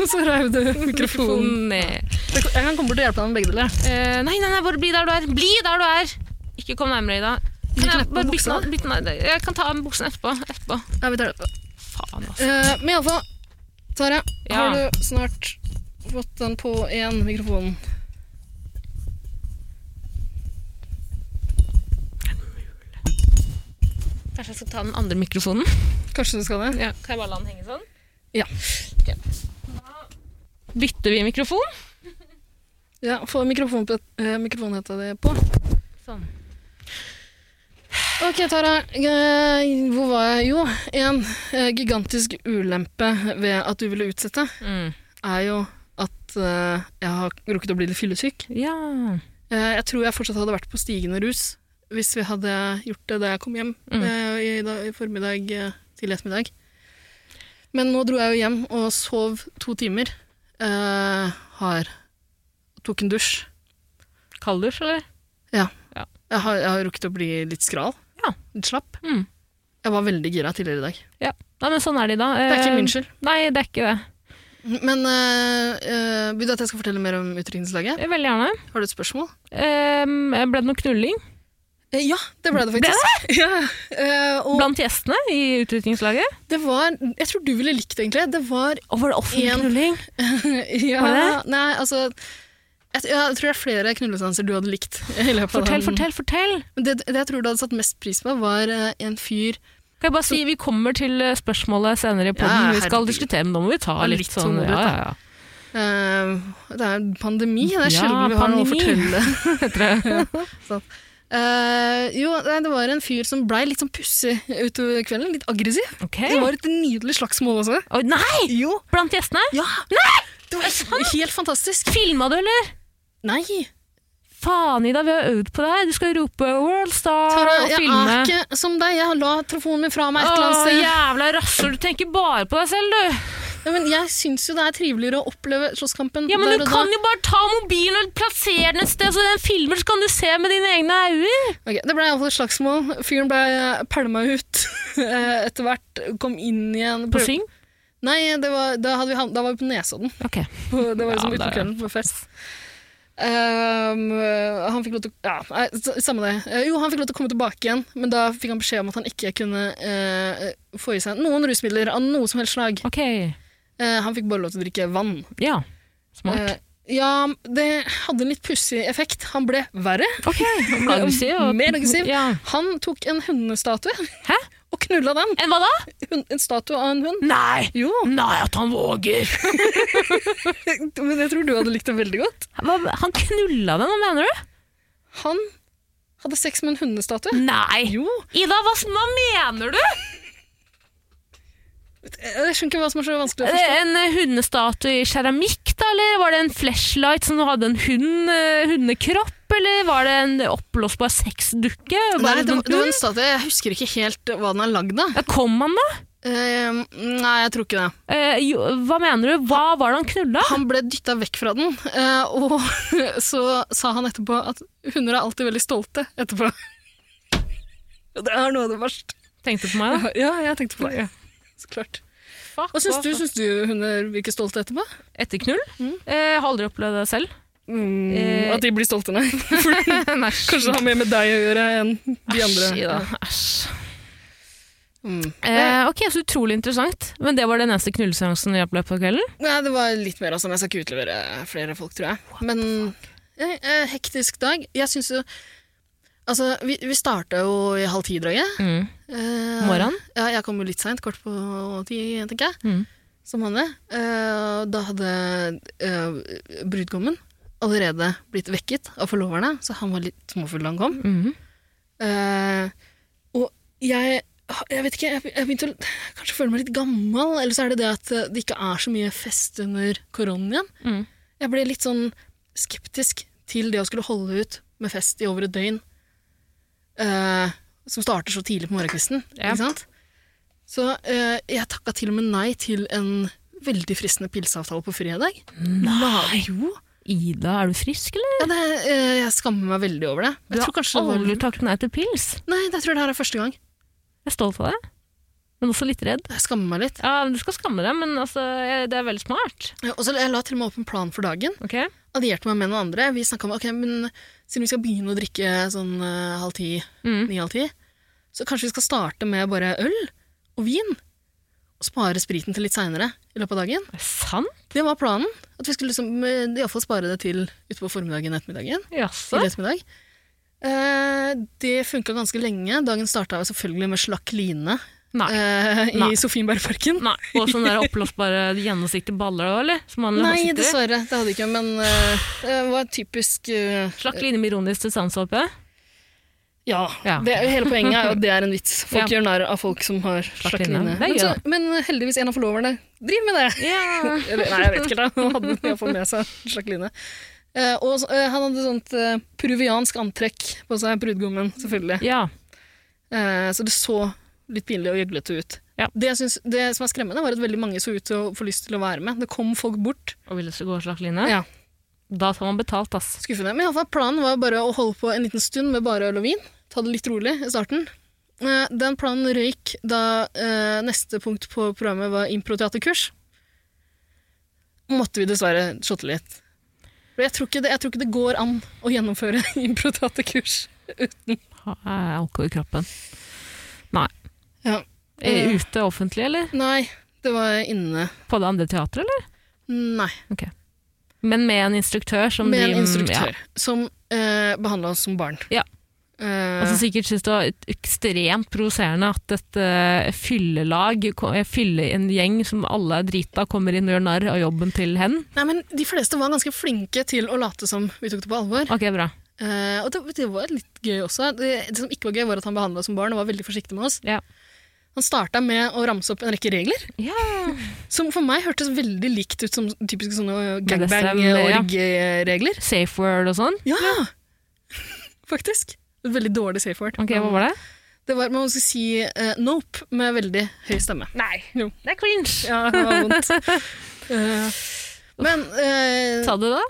Og (laughs) så reiv du mikrofonen.
Mikrofonen ned.
Jeg kan komme bort og hjelpe deg med begge deler.
Eh, nei, nei, nei, bare bli der du er. Bli der du er! Ikke kom nærmere, Ida. Kan
Ikke
jeg,
neppe
bare bytte
buksa?
den- bytte den av? jeg kan ta av meg buksen etterpå. etterpå.
Ja, vi tar det.
Faen, altså.
Eh, men iallfall, Tara,
Ja.
har du snart fått den på igjen, mikrofonen?
Kanskje jeg skal ta den andre mikrofonen?
Kanskje du skal det?
Ja, kan jeg bare la den henge sånn?
Ja.
Bytter vi mikrofon?
Ja, Få mikrofonpet- eh, mikrofonhetta di på.
Sånn.
Ok, Tara. eh, hvor var jeg? Jo, en eh, gigantisk ulempe ved at du ville utsette,
Mm.
er jo at eh, jeg har rukket å bli litt fyllesyk.
Ja.
Eh, jeg tror jeg fortsatt hadde vært på stigende rus hvis vi hadde gjort det da jeg kom hjem
Mm.
eh, i, dag, i formiddag eh, til ettermiddag. Men nå dro jeg jo hjem og sov to timer. eh, har Tok en dusj.
Kalddusj, eller?
Jeg har, jeg har rukket å bli litt skral.
Ja.
Litt slapp.
Mm.
Jeg var veldig gira tidligere i dag.
Nei, men sånn er det, da.
Det er ikke min skyld.
Nei, det er ikke det.
Men øh, øh, vil du at jeg skal fortelle mer om utdrikningslaget?
Eh, Veldig gjerne.
Har du et spørsmål?
Eh, ble det noe knulling
Eh, ja, det ble det faktisk. Det? (laughs) Ja. eh, og
blant gjestene i utrykningslaget?
det var Jeg tror du ville likt det, egentlig. Det var
Og var det offentlig
En-
knulling?
(laughs) ja,
Var
Nei, altså jeg, t- jeg tror det er flere knullestanser du hadde likt. i løpet av
Fortell,
den-
fortell, fortell!
Men Det, det jeg tror du hadde satt mest pris på, var eh, en fyr
Kan jeg bare si, Vi kommer til eh, spørsmålet senere i podden.
Ja,
vi skal
herregud.
diskutere, men nå må vi ta
Ja,
litt,
litt
sånn
tålmodighet,
ja,
da.
ja, ja.
eh, Det er en pandemi, det er
Ja,
sjelden vi har noe å
pandemi.
fortelle.
Heter
(laughs)
det. (laughs)
Eh, jo, nei, det var en fyr som blei litt sånn pussig utover kvelden. Litt aggressiv.
Ok.
Det var et nydelig slagsmål også.
Oi, nei!
Jo,
Blant gjestene?
Ja! Det var helt fantastisk.
Filma du, eller?
Nei,
Faen, Ida, vi har øvd på det her. Du skal rope 'Worldstar'
Tara,
og
jeg
filme.
er ikke som deg. Jeg la telefonen min fra meg et eller
Å,
annet sted.
jævla rasshøl. Du tenker bare på deg selv, du.
Ja, men jeg syns jo det er triveligere å oppleve slåsskampen
Ja, men
der
Du
og
kan
da.
jo bare ta mobilen og plassere den et sted, så den filmer, så kan du se med dine egne øyne.
Ok, det ble iallfall et slagsmål. Fyren ble pælma ut. (laughs) Eh, Etter hvert kom inn igjen.
På syng?
Nei, det var, da, hadde vi, ham- da var vi på Nesodden.
Ok.
På- Det var
Ja,
liksom utenfor
det er-
kvelden på fest. Ehm, øh, han fikk lov til å ja, nei, s- Samme det. Eh, jo, han fikk lov til å komme tilbake igjen, men da fikk han beskjed om at han ikke kunne eh, få i seg noen rusmidler av noe som helst slag.
Ok.
Eh, han fikk bare lov til å drikke vann.
Ja. Smart.
Eh, ja, det hadde en litt pussig effekt. Han ble verre.
Ok. Aggressiv. og-
Mer aggressiv.
Ja.
Han tok en hundestatue
Hæ?
og knulla den.
Enn hva da?
Hun, en statue av en hund.
Nei!
Jo,
Nei, at han våger!
men jeg tror du hadde likt det veldig godt.
Hva- Han knulla den, hva mener du?
Han hadde sex med en hundestatue.
Nei!
Jo,
Ida, hva, hva mener du?
Jeg skjønner ikke hva som er så vanskelig å
Er det
forstå.
En eh, hundestatue i keramikk, da, eller var det en flashlight som hadde en hund, eh, hundekropp, eller var det en oppblåsbar sexdukke?
Nei,
Bare
det,
en
det var
hund?
en statue. Jeg husker ikke helt hva den er lagd av.
Ja, Kom han, da?
Eh, nei, jeg tror ikke det.
Eh, jo, hva mener du? Hva var det han knulla?
Han ble dytta vekk fra den, eh, og (laughs) så sa han etterpå at hunder er alltid veldig stolte etterpå. (laughs) Det er noe av det verste.
Tenkte du på meg, da?
Ja, jeg tenkte på det. Så klart.
(laughs) Fuck,
Hva syns
hva
du?
faen?
Syns du hunder virker stolte etterpå?
Etter knull? Eh, har aldri opplevd det selv. Eh,
at de blir stolte, nei.
(laughs)
(laughs)
Nei,
Kanskje det har mer med deg å gjøre enn de andre.
Æsj, Ida. Æsj.
Mm.
Eh, ok, så utrolig interessant. Men det var den eneste knulleseansen jeg opplevde på kvelden?
Nei, det var litt mer, altså. Men jeg skal ikke utlevere flere folk, tror jeg. Men eh, eh, hektisk dag. Jeg syns jo Altså, vi, vi starta jo i halv ti-draget.
Mm.
Eh,
Morgenen?
Ja, jeg kom jo litt seint, kort på ti, tenker jeg.
Mm.
Som vanlig. Eh, og da hadde eh, brudgommen allerede blitt vekket av forloverne, så han var litt småfull da han kom.
Mhm.
Eh, og jeg jeg vet ikke, jeg jeg begynte å kanskje føle meg litt gammel, eller så er det det at eh, det ikke er så mye fest under koronaen igjen.
Mm.
Jeg ble litt sånn skeptisk til det å skulle holde ut med fest i over et døgn, eh, som starter så tidlig på morgenkvisten,
Ja.
ikke sant? Så eh, jeg takket til og med nei til en veldig fristende pilseavtale på fredag. Nei! Jo,
Ida, er du frisk, eller?
ja, det, eh, jeg skammer meg veldig over det.
Du
Jeg tror
har
kanskje det var...
aldri takket nei til pils?
Nei, jeg tror det her er første gang.
Jeg er stolt av deg. men også litt redd.
Jeg skammer meg litt.
Ja, men Du skal skamme deg, men altså, jeg- det er veldig smart.
Og så jeg la til og med opp en plan for dagen.
Ok?
Allierte meg med noen andre. Vi snakka om ok, men siden vi skal begynne å drikke sånn eh, halv ti,
Mm.
ni-halv ti, så kanskje vi skal starte med bare øl og vin. Og spare spriten til litt seinere i løpet av dagen.
Er det sant?
Det var planen. At vi skulle liksom, eh, i alle fall spare det til utpå formiddagen ettermiddagen.
Jaså?
tidlig ettermiddag. Eh, det funka ganske lenge. Dagen starta jo selvfølgelig med slakk line
Nei.
eh, i
Nei.
Sofienbergparken.
Nei. Og sånne der oppblåsbare gjennomsiktige baller, da, eller? Som man
Nei,
sitter i.
dessverre. Det hadde jeg ikke, men eh, det var typisk eh,
Slakk line med ironisk distansehåpe.
Ja.
Ja.
Det, hele poenget er jo at det er en vits.
(laughs)
Folk gjør narr av folk som har slakk
line. Det
line.
er
Men, så,
gøy,
men heldigvis en av forloverne driver med det.
Ja.
Eller, nei, jeg vet ikke helt. da. Han hadde iallfall med seg en slakk line. Eh, og så- eh, han hadde sånt eh, peruviansk antrekk på seg, brudgommen, selvfølgelig.
ja.
Eh, Så det så litt pinlig og gjøglete ut.
Ja.
Det, jeg syns- det som var skremmende, var at veldig mange så ut til å få lyst til å være med. Det kom folk bort.
Og vil du gå slakk line?
Ja.
Da tar man betalt, ass.
Skuffende. Men i alle fall, planen var bare å holde på en liten stund med bare øl og vin. Ta det litt rolig i starten. Eh, Den planen røyk da eh, neste punkt på programmet var improteaterkurs. Måtte vi dessverre shotte litt. For Jeg tror, ikke det, jeg tror ikke det går an å gjennomføre (laughs) improteaterkurs.
Ha- er Alkohol i kroppen. Nei.
Ja. Eh.
Er det Ute offentlig, eller?
Nei, det var inne.
På det andre teatret, eller?
Nei.
Men med en instruktør som
med
de-
en instruktør som eh, behandla oss som barn.
Ja. Og
Eh,
som Altså, sikkert syntes det var ut- ekstremt provoserende at et eh, fyllelag, ko- eh, fylle en gjeng som alle er drita, kommer inn og gjør narr av jobben til hen.
nei, men de fleste var ganske flinke til å late som vi tok det på alvor.
Ok, bra.
Eh, og det, det var litt gøy også. Det, det som ikke var gøy, var at han behandla oss som barn og var veldig forsiktig med oss.
Ja.
Han starta med å ramse opp en rekke regler,
Ja.
som for meg hørtes veldig likt ut som typiske sånne
BDSM,
gangbang-org-regler.
Safe word og sånn.
Ja. (laughs) faktisk. Et veldig dårlig safe word.
Ok, Hva var det?
Det var, Man skulle si eh, nope med veldig høy stemme.
Nei,
Jo.
det er cringe.
Ja, det var vondt.
(laughs)
Eh, men eh,
Sa du det?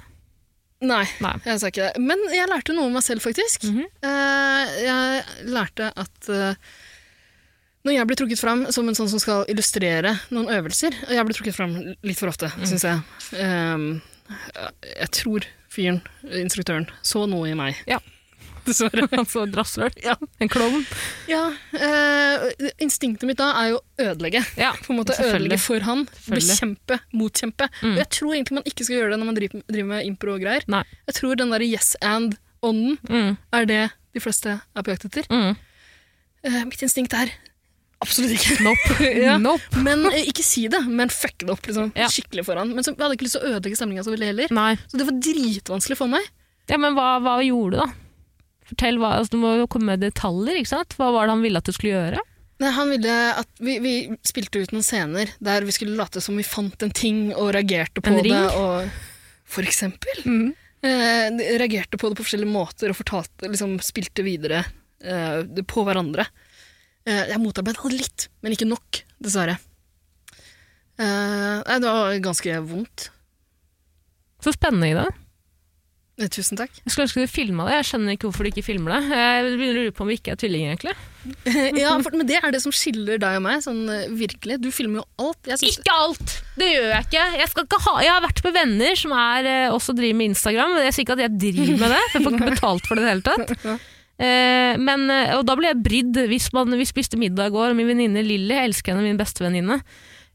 nei,
Nei.
jeg sa ikke det. Men jeg lærte noe om meg selv, faktisk.
Mhm.
Eh, jeg lærte at eh, når jeg blir trukket fram som en sånn som skal illustrere noen øvelser Og jeg blir trukket fram litt for ofte,
Mhm.
synes syns jeg. Eh, jeg tror fyren, instruktøren, så noe i meg.
Ja.
(laughs) Dessverre.
(laughs) (laughs) Altså drassøl? Ja. En klovn?
Ja, eh, instinktet mitt da er jo å ødelegge.
Ja,
på en måte
selvfølgelig.
ødelegge for han,
Selvfølgelig.
bekjempe, motkjempe.
Mm.
Og jeg tror egentlig man ikke skal gjøre det når man driver, driver med impro og greier.
Nei.
Jeg tror den der yes and-ånden
Mm,
er det de fleste er på jakt etter.
mm.
Eh, mitt instinkt er absolutt ikke.
(laughs) Nope.
Ja.
nope.
Men eh, ikke si det, men fuck det opp liksom,
Ja.
skikkelig for han. Men så, jeg hadde ikke lyst til å ødelegge stemninga så veldig heller.
Nei.
Så det var dritvanskelig for meg.
Ja, men hva, hva gjorde du, da? Fortell hva, altså, Du må jo komme med detaljer. ikke sant? Hva var det han ville at du skulle gjøre?
Nei, han ville at vi, vi spilte ut noen scener der vi skulle late som vi fant en ting og reagerte på
En ring?
det. Og, for eksempel. Eh, de reagerte på det på forskjellige måter og fortalte, liksom, spilte videre eh, det på hverandre. Eh, jeg motarbeidet det litt, men ikke nok, dessverre. Eh, nei, det var ganske vondt.
Så spennende i det.
Eh, Tusen (laughs) takk.
Jeg skulle ønske du filma det. Jeg skjønner ikke hvorfor du ikke filmer det. Jeg begynner å lure på om vi ikke er tvillinger, egentlig.
ja, for, men det er det som skiller deg og meg, sånn eh, virkelig. Du filmer jo alt. Jeg synes,
Ikke alt! Det gjør jeg ikke. Jeg, skal ikke ha, jeg har vært med venner som er, eh, også driver med Instagram. Jeg sier ikke at jeg driver med det, jeg får ikke betalt for det i det hele tatt. Eh, men, eh, og da ble jeg brydd hvis man, vi spiste middag i går, og min venninne Lilly, jeg elsker henne, min beste venninne,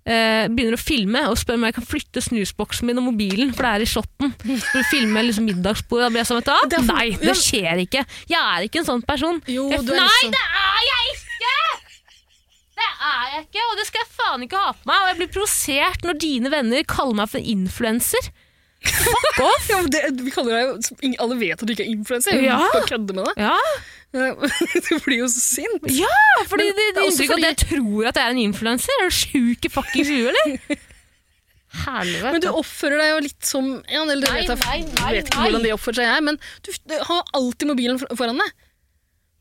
eh, begynner å filme og spør om jeg kan flytte snusboksen min og mobilen, for det er i shotten. For å filme liksom middagsbordet. Da blir jeg sånn, vet du
Det
hva?
er for-
Nei,
ja.
det skjer ikke. Jeg er ikke en sånn person.
Jo,
Jeg-
du er
Nei,
litt sånn-
det er jeg ikke! Det er jeg ikke, og det skal jeg faen ikke ha på meg. Og jeg blir provosert når dine venner kaller meg for influenser. Fuck
(laughs)
off!
ja, men det, vi kaller deg jo ingen- Alle vet at du ikke er influenser.
Ja.
Vi skal kødde med deg.
Ja,
(laughs) du blir jo så sint.
fordi
Men
det,
det
det
er også
inntrykk at jeg tror at jeg er en influenser. Er du sjuk i fuckings huet, eller?
(laughs)
Helvete.
Men du oppfører deg jo litt som ja, eller, det
Nei,
vet jeg,
nei, nei,
jeg vet ikke
nei.
hvordan de oppfører seg, jeg, men du, du har alltid mobilen for- foran deg.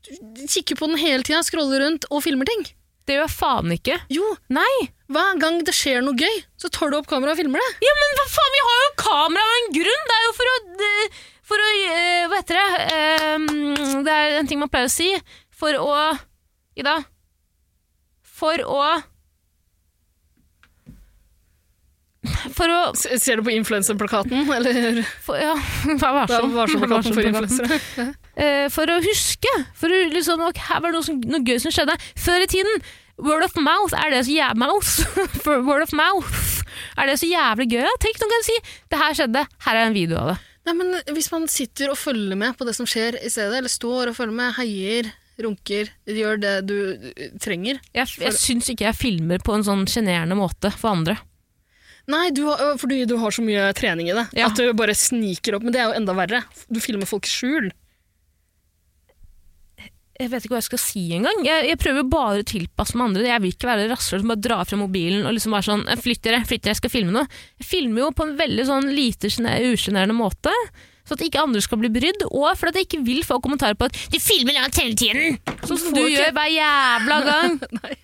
Du kikker på den hele tida, scroller rundt og filmer ting.
Det gjør jeg faen ikke.
Jo,
Nei.
hver gang det skjer noe gøy, så tar du opp kameraet og filmer det.
Ja, men hva faen, vi har jo kamera av en grunn! Det er jo for å eh, For å eh, Hva heter det? Ehm, Eh, Det er en ting man pleier å si. For å Ida. for å For å
S- Ser du på influenserplakaten, eller
for, Ja, vær (laughs) varsom.
varselplakaten for
Varselplakaten.
influensere?
Eh, for å huske. For å liksom, ok, her var det noe, som, noe gøy som skjedde. Før i tiden, word of mouth er det så jævlig mouse. (laughs) For word of mouth er det så jævlig gøy. Ja. Tenk, noen kan si 'det her skjedde', her er en video av det.
Nei, men Hvis man sitter og følger med på det som skjer i stedet, eller står og følger med, heier, runker, gjør det du eh, trenger
Jeg, jeg syns ikke jeg filmer på en sånn sjenerende måte for andre.
Nei, du har, øh, fordi du har så mye trening i det.
Ja.
At du bare sniker opp. Men det er jo enda verre. Du filmer folk i skjul.
Jeg vet ikke hva jeg skal si engang. Jeg, jeg prøver bare å tilpasse meg andre. Jeg vil ikke være rasshøl som bare drar fra mobilen og liksom bare sånn «Eh, 'Flytt dere, flytt dere, jeg skal filme noe'. Jeg filmer jo på en veldig sånn lite gene- usjenerende måte, så at ikke andre skal bli brydd. Og fordi at jeg ikke vil få kommentarer på at 'du filmer langt hele tiden', sånn som
Du
du
får
gjør hver jævla gang.
Nei.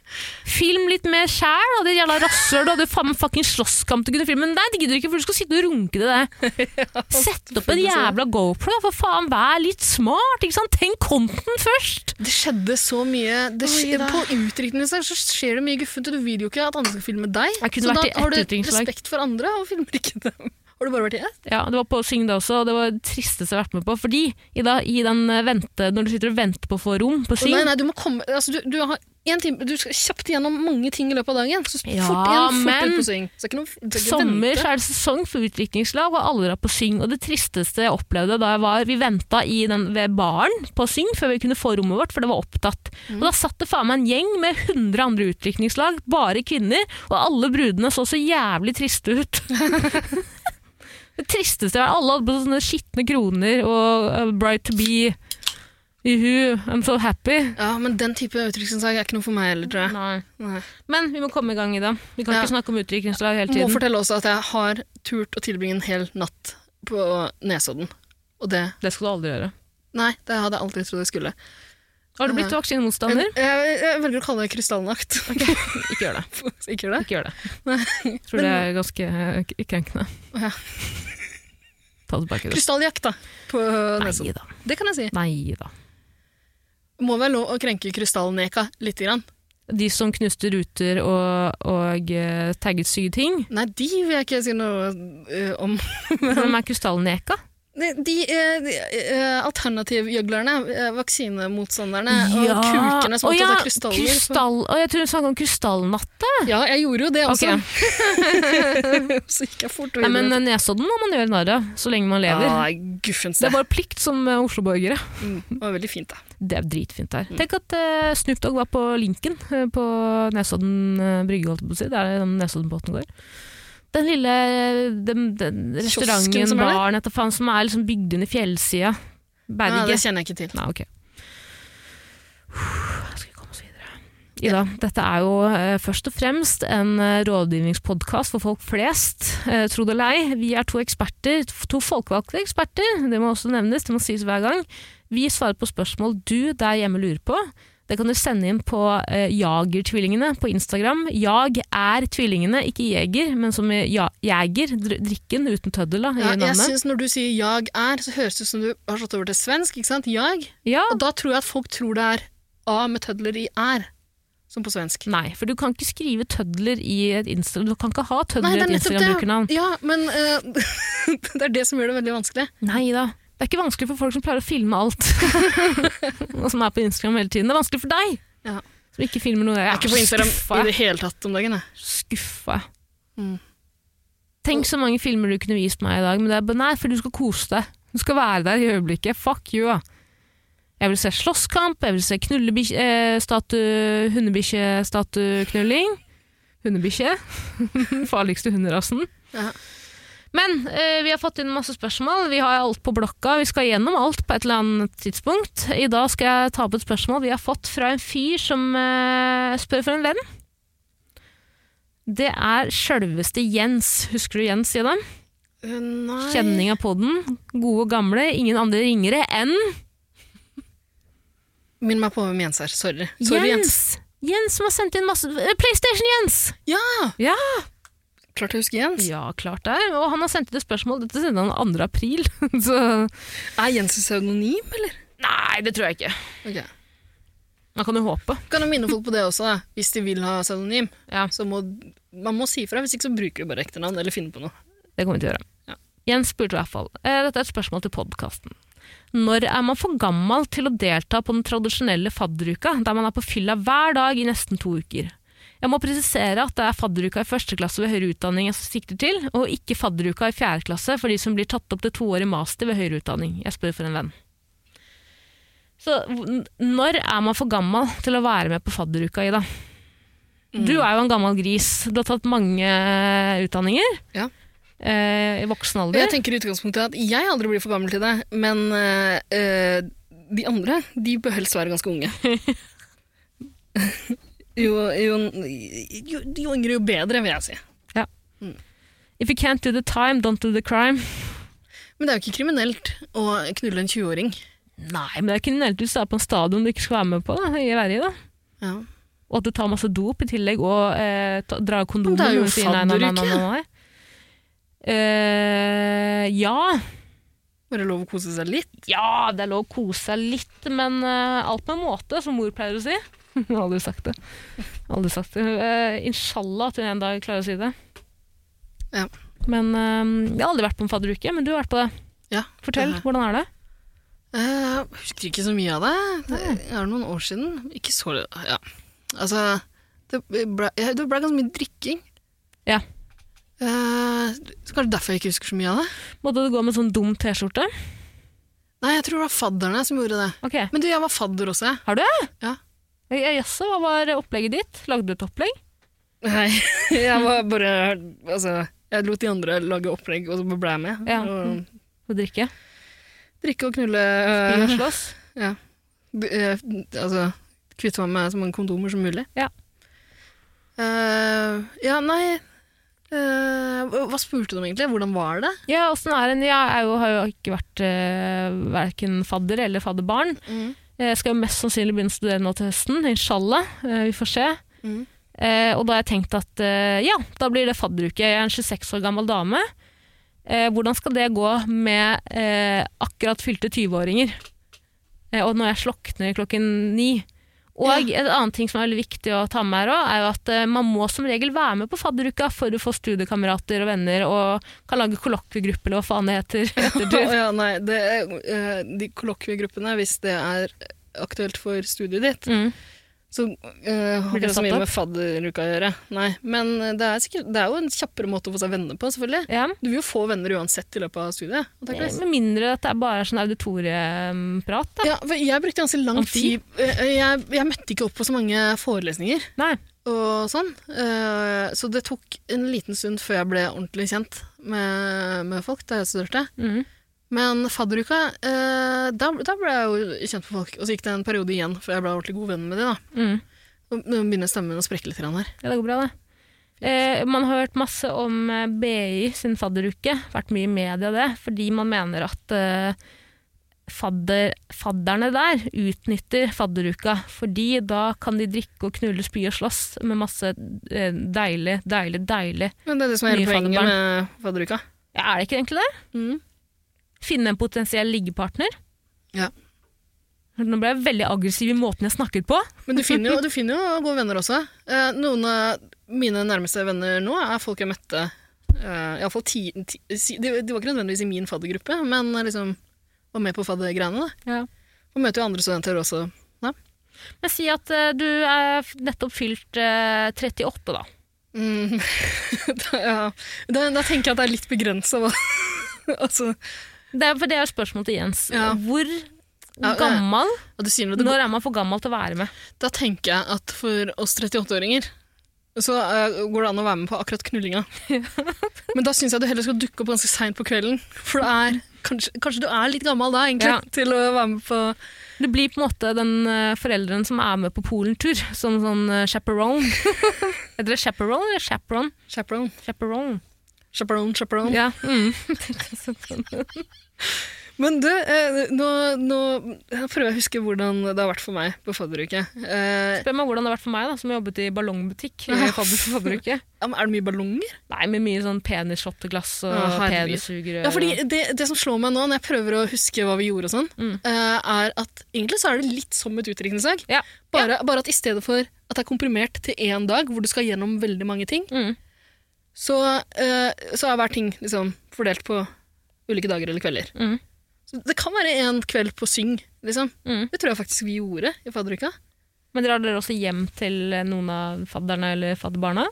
Film litt mer sjæl, da, ditt jævla rasshøl. Du hadde jo faen meg fucking slåsskamp du kunne filme. Men nei, det gidder du ikke, for du skal sitte og runke til (laughs) det. Sett opp en
selvfølgelig så.
jævla GoPro, da, for faen. Vær litt smart, ikke sant. Tenk content først.
Det skjedde så mye det
Oi,
skje,
da.
På utdrikningsdag så skjer det mye guffent, og du vil jo ikke at andre skal filme deg.
Jeg kunne
Så
vært
da
i ett
har du
utdrikningslag.
respekt for andre og filmer ikke dem. Har du bare vært i ett?
Ja, det var på Syng det også, og det var det tristeste jeg har vært med på. Fordi Ida, i den eh, vente, når du sitter og venter på å få rom på
Å,
Syng
Nei, nei, du må komme altså, du, du har en time, du skal kjapt gjennom mange ting i løpet av dagen. Så fort
Ja,
igjen, fort
men-
ut på sving. Så det er ikke noe, det er ikke
Sommer
vente.
så er det sesong for utviklingslag, og alle drar på Syng. Og det tristeste jeg opplevde da jeg var Vi venta i den, ved baren på Syng før vi kunne få rommet vårt, for det var opptatt.
Mm.
Og da satt det faen meg en gjeng med 100 andre utviklingslag, bare kvinner, og alle brudene så så jævlig triste
(laughs)
ut. det tristeste jeg har Alle hadde på sånne skitne kroner og eh, Bright to be. Juhu, I'm so happy.
Ja, men den type utdrikningsdag er ikke noe for meg heller, tror jeg.
Nei.
Nei.
Men vi må komme i gang i dag. Vi kan
Ja.
ikke snakke om utviklingslag hele
Må
tiden.
fortelle også at jeg har turt å tilbringe en hel natt på Nesodden. Og det
Det skal du aldri gjøre.
Nei, det hadde jeg aldri trodd jeg skulle.
Har du blitt
Nei.
vaksinemotstander?
Jeg, jeg, jeg velger å kalle det krystallnakt. (laughs)
Ikke gjør det.
Ikke det?
Ikke gjør det.
(laughs) Nei.
Jeg tror det er ganske eh, k- krenkende.
Ja.
Ta tilbake det.
Krystalljakt, da. På
Nei
Nesodden.
da.
Det kan jeg si.
Nei da.
Må være lov å krenke krystallneka lite grann.
De som knuste ruter og, og eh, tagget syke ting,
(laughs) Nei, de vil jeg ikke si noe eh, om.
hvem er krystallneka?
De, de, eh, de eh, alternativgjøglerne, eh, vaksinemotstanderne
Ja.
og kulkene som
Å
opptatt
ja,
av krystaller.
Krystall, å, jeg tror du snakket om krystallnatt.
Ja, jeg gjorde jo det også. (laughs)
Ok.
Så gikk jeg fort
Nei,
videre.
men Nesodden må man gjøre narr av så lenge man lever.
Ah, Ja, guffens
Det
det.
er bare plikt som eh, Oslo-borgere.
Mm, det var veldig fint, da.
Det er dritfint der.
Mm.
Tenk at eh, Snoop Dogg var på Linken, eh, på Nesodden eh, brygge, holdt jeg på å si. Der den Nesoddenbåten går. Den lille eh, den, den restauranten,
som er der?
baren, etter faen, som er liksom bygd under fjellsida. Bærer
Nei, det
ikke.
kjenner jeg ikke til.
Nei, ok. Uff, Skal vi komme oss videre? Ida, dette er jo eh, først og fremst en eh, rådgivningspodkast for folk flest, eh, tro det eller ei. Vi er to eksperter, f- to folkevalgte eksperter, det må også nevnes, det må sies hver gang. Vi svarer på spørsmål du der hjemme lurer på. Det kan du sende inn på eh, Jagertvillingene på Instagram. Jag er tvillingene, ikke jeger, men som i ja, jeger, dr- drikken uten tøddel da, i
Ja, jeg
navnet.
synes Når du sier 'jag er', så høres det ut som du har slått over til svensk. ikke sant? Jag.
Ja,
Og da tror jeg at folk tror det er A med tødler i er, som på svensk.
Nei, for du kan ikke skrive tødler i et Instagram. Du kan ikke ha tødler
Nei,
i
det er
et
nettopp
Instagram-brukernavn.
det. Ja, men eh, (laughs) det er det som gjør det veldig vanskelig.
Nei da. Det er ikke vanskelig for folk som pleier å filme
(laughs)
alt. og som er på Instagram hele tiden. Det er vanskelig for deg!
Ja.
Som ikke filmer noe. Jeg
Jeg er ikke på Instagram
skuffa.
i det hele tatt om dagen. Jeg.
skuffa.
Mm.
Tenk så mange filmer du kunne vist meg i dag, men det er bare nei, for du skal kose deg. Du skal være der i øyeblikket. Fuck you, da. Jeg vil se slåsskamp, jeg vil se knullebikkje... Eh, statu- Hundebikkjestatuknulling. Hundebikkje. (laughs) Den farligste hunderasen.
Ja.
Men eh, vi har fått inn masse spørsmål. Vi har alt på blokka. Vi skal gjennom alt på et eller annet tidspunkt. I dag skal jeg ta opp et spørsmål vi har fått fra en fyr som eh, spør for en venn. Det er sjølveste Jens. Husker du Jens, Ida?
Eh, nei
Kjenning av podden. Gode og gamle. Ingen andre ringere enn
Minn meg på hvem Jens er. Sorry. Sorry, Jens.
Jens. Jens som har sendt inn masse eh, PlayStation-Jens!
Klart jeg husker Jens.
Ja, klart det. Og han har sendt inn et spørsmål. Dette sendte han 2. april. (laughs) Så
Er Jens et pseudonym, eller?
nei, det tror jeg ikke.
Ok.
Man kan jo håpe.
Kan jo minne folk på det også, da. hvis de vil ha pseudonym.
Ja.
Så må, man må si ifra, hvis ikke så bruker vi bare ektenavn eller finner på noe.
Det kommer vi til å gjøre.
Ja.
Jens spurte i hvert fall. eh, Dette er et spørsmål til podkasten. Når er man for gammel til å delta på den tradisjonelle fadderuka, der man er på fylla hver dag i nesten to uker? Jeg må presisere at det er fadderuka i første klasse ved høyere utdanning jeg sikter til, og ikke fadderuka i fjerde klasse for de som blir tatt opp til toårig master ved høyere utdanning. Jeg spør for en venn. Så n- når er man for gammel til å være med på fadderuka, Ida?
Mm.
Du er jo en gammel gris. Du har tatt mange utdanninger
Ja.
eh, i voksen
Jeg
alder.
tenker i utgangspunktet at jeg aldri blir for gammel til det, men eh, eh, de andre, de bør helst være ganske unge. (laughs) jo, jo, jo, jo yngre, jo bedre, vil jeg si.
If you can't do the time, don't do the crime.
Men det er jo ikke kriminelt å knulle en 20-åring.
Nei, men det er kriminelt hvis du er på en stadion du ikke skal være med på da, i Sverige. da.
Ja.
Og at du tar masse dop i tillegg og eh, ta, drar kondomen.
Men det er jo
og sier nei, nei, nei, nei,
fadderuke.
nei, nei. Eh, ja.
Bare lov å kose seg litt.
ja, det er lov å kose seg litt, men eh, alt med måte, som mor pleier å si. (laughs) Hun har aldri sagt det. Aldri sagt det. Eh, inshallah at hun en dag klarer å si det.
Ja.
Men eh, jeg har aldri vært på en fadderuke, men du har vært på det.
Ja.
Fortell,
Eh,
hvordan er det?
eh, husker ikke så mye av det. Det er noen år siden. Ikke så Ja. Altså, det ble, det ble ganske mye drikking.
Ja.
Eh, så kanskje derfor jeg ikke husker så mye av det.
Måtte du gå med sånn dum T-skjorte?
Nei, jeg tror det var fadderne som gjorde det.
Ok.
Men du, jeg var fadder også, jeg.
Har du det?
Ja.
Ja, Jaså, hva var opplegget ditt? Lagde du et opplegg?
Nei, (laughs) jeg var bare Altså, jeg lot de andre lage opplegg, og så ble jeg med.
Ja.
Og
Og drikke?
drikke og knulle
Spille
øh,
og slåss?
Ja. B- eh, altså, kvitte meg med så mange kondomer som mulig.
Ja.
Eh, ja, nei eh, hva- Hva spurte du om egentlig? Hvordan var det?
Ja, åssen er den? Jeg er jo, har jo ikke vært eh, verken fadder eller fadderbarn. Eh, Jeg skal jo mest sannsynlig begynne å studere nå til høsten, inshallah. Eh, Vi får se.
Mhm.
Eh, og da har jeg tenkt at eh, ja, da blir det fadderuke. Jeg er en 26 år gammel dame. Eh, hvordan skal det gå med eh, akkurat fylte 20-åringer? Eh, og når jeg slokner klokken ni. Og et annet ting som er veldig viktig å ta med her også, er jo at eh, man må som regel være med på fadderuka for å få studiekamerater og venner, og kan lage kollokviegruppe eller hva faen det heter. (laughs)
(laughs)
ettertid.
Å ja, nei, det, eh, de kollokviegruppene, hvis det er aktuelt for studiet ditt,
Mm.
så eh, har
Blir det
ikke det så
satt
mye
opp?
med fadderuka å gjøre. Nei, men det er, sikkert, det er jo en kjappere måte å få seg venner på, selvfølgelig.
Ja.
Du vil jo få venner uansett i løpet av studiet. antageligvis.
Med mindre at det er bare er sånn auditorieprat. da.
Ja, for jeg brukte ganske lang
Amfi?
tid eh, jeg, jeg møtte ikke opp på så mange forelesninger
Nei.
og sånn. eh, Så det tok en liten stund før jeg ble ordentlig kjent med, med folk da jeg studerte.
Mm.
Men fadderuka, eh, da, da ble jeg jo kjent med folk. Og så gikk det en periode igjen før jeg ble ordentlig god venn med de da.
Mm.
Nå nå begynner stemmen å sprekke litt grann her.
Ja, det går bra, det. Eh, man har hørt masse om eh, BI sin fadderuke. Vært mye i media det. Fordi man mener at eh, fadder, fadderne der utnytter fadderuka. Fordi da kan de drikke og knulle, spy og slåss med masse eh, deilig, deilig, deilig
Men det er det som er hele
Mye
poenget med fadderuka.
ja, Er det ikke egentlig det?
Mm.
Finne en potensiell liggepartner.
Ja.
Nå ble jeg veldig aggressiv i måten jeg snakket på.
Men du finner, jo, du finner jo gode venner også. Eh, Noen av mine nærmeste venner nå er folk jeg møtte eh, i alle fall ti, ti, si- de, de var ikke nødvendigvis i min faddergruppe, men liksom var med på faddergreiene. da.
Ja.
Og møter jo andre studenter også.
Men si at eh, du er f- nettopp fylt eh, 38, da.
Mm. (laughs) da, ja. da, da tenker jeg at det er litt begrensa hva (laughs) Altså,
Det er, for det er spørsmålet til Jens.
Ja.
Hvor
ja.
gammel,
at du sier noe, det,
når er man for gammel til å være med?
Da tenker jeg at for oss 38-åringer så eh, går det an å være med på akkurat knullinga. Men da syns jeg du heller skal dukke opp ganske seint på kvelden. For det er, kanskje, kanskje du er litt gammel da, egentlig,
Ja.
til å være med på
Du blir på en måte den eh, forelderen som er med på Polen-tur, (laughs) som sånn eh,
(laughs)
chaperone. Heter det chaperone eller chaperone?
chaperone.
Chaperone. mm.
Chaperone, chaperone.
Ja. Mm.
Men du, eh, nå, nå prøver jeg å huske hvordan det har vært for meg på fadderuke. Eh,
Spør meg hvordan det har vært for meg, da, som jobbet i ballongbutikk. i fadder- fadderuke.
ja, men er det mye ballonger?
Nei, med mye sånn penisshotteglass og
Å, herregud.
penissugerør.
Ja, fordi det, det som slår meg nå, når jeg prøver å huske hva vi gjorde og sånn,
Mm.
eh, er at egentlig så er det litt som et utdrikningslag.
Ja.
Bare, bare at i stedet for at det er komprimert til én dag, hvor du skal gjennom veldig mange ting,
og- mm.
så, eh, så er hver ting liksom fordelt på ulike dager eller kvelder.
Mm.
Så det kan være en kveld på syng, liksom.
Mm.
Det tror jeg faktisk vi gjorde i fadderuka.
Men drar dere også hjem til eh, noen av fadderne eller fadderbarna?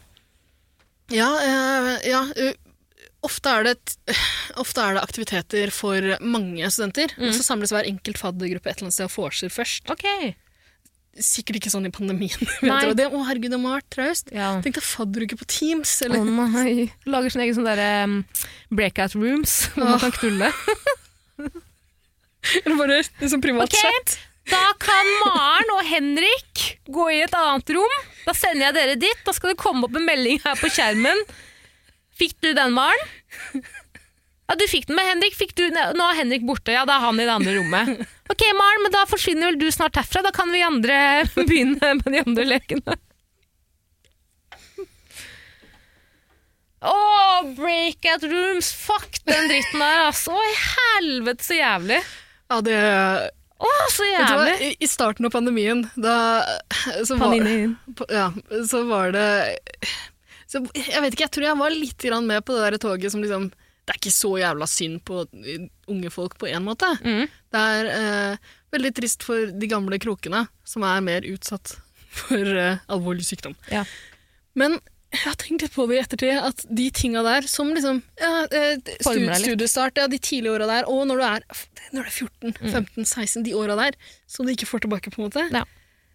Ja, eh, ja eh, ofte, er det, t- eh, ofte er det aktiviteter for mange studenter.
Mm.
Så samles hver enkelt faddergruppe et eller annet sted og vorser først.
Ok.
Sikkert ikke sånn i pandemien. (laughs)
Nei.
Vet du, og det, å herregud, det må ha vært traust.
Ja.
Tenk deg fadderuke på Teams,
Å
eller
nei. Lager sin egen sånn derre um, breakout rooms hvor man kan knulle.
(laughs) eller bare liksom privat
Ok.
chat.
Da kan Maren og Henrik gå i et annet rom. Da sender jeg dere dit. Da skal det komme opp en melding her på skjermen. Fikk du den, Maren? Ja, du fikk den med Henrik. Fikk du... Nei, Nå er Henrik borte. Ja, da er han i det andre rommet. Ok, Maren, men da forsvinner vel du snart herfra. Da kan vi andre (laughs) begynne med de andre lekene. Å, breakout rooms! Fuck den dritten der, altså. Å, i helvete så jævlig.
Ja, det
Å, så
vet du hva,
jævlig.
i, I starten av pandemien, da så var,
inn.
på- ja, så var det så, Jeg vet ikke, jeg tror jeg var litt grann med på det der toget som liksom Det er ikke så jævla synd på unge folk på én måte.
Mm.
Det er eh, veldig trist for de gamle krokene, som er mer utsatt (laughs) for eh, alvorlig sykdom.
Ja.
Men jeg har tenkt litt på det i ettertid, at de tinga der som liksom ja, eh,
Former deg
stud,
litt.
Studiestart, ja, de tidlige åra der, og når du er, når du er 14, 15, 16, de åra der, som du ikke får tilbake, på en måte.
Mm. Ja.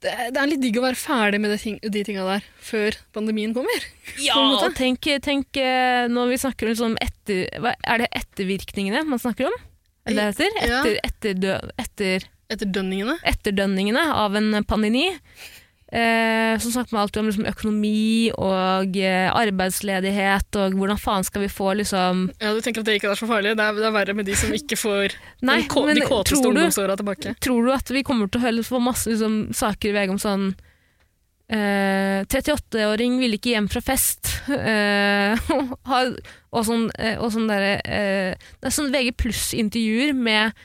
Det, er- det er litt digg å være ferdig med de, ting, de tinga der før pandemien kommer.
Ja,
på en måte.
og tenk, tenk eh, når vi snakker om sånn etter, hva, Er det ettervirkningene man snakker om? Er det det heter?
Ja.
Etter, etterdø- etter,
Etter dønningene.
etterdønningene av en pandemi. Eh, så snakker man alltid om liksom, økonomi og eh, arbeidsledighet og hvordan faen skal vi få liksom
Ja, Du tenker at det ikke er så farlig? Det er, det er verre med de som ikke får
Nei,
de, kå-
men
de kåteste
tror du,
ungdomsåra tilbake.
tror du at vi kommer til å høre få masse liksom, saker i VG om sånn eh, 38-åring ville ikke hjem fra fest. (laughs) eh, har- og sånn, eh, og sånn derre eh, Det er sånn VG pluss-intervjuer med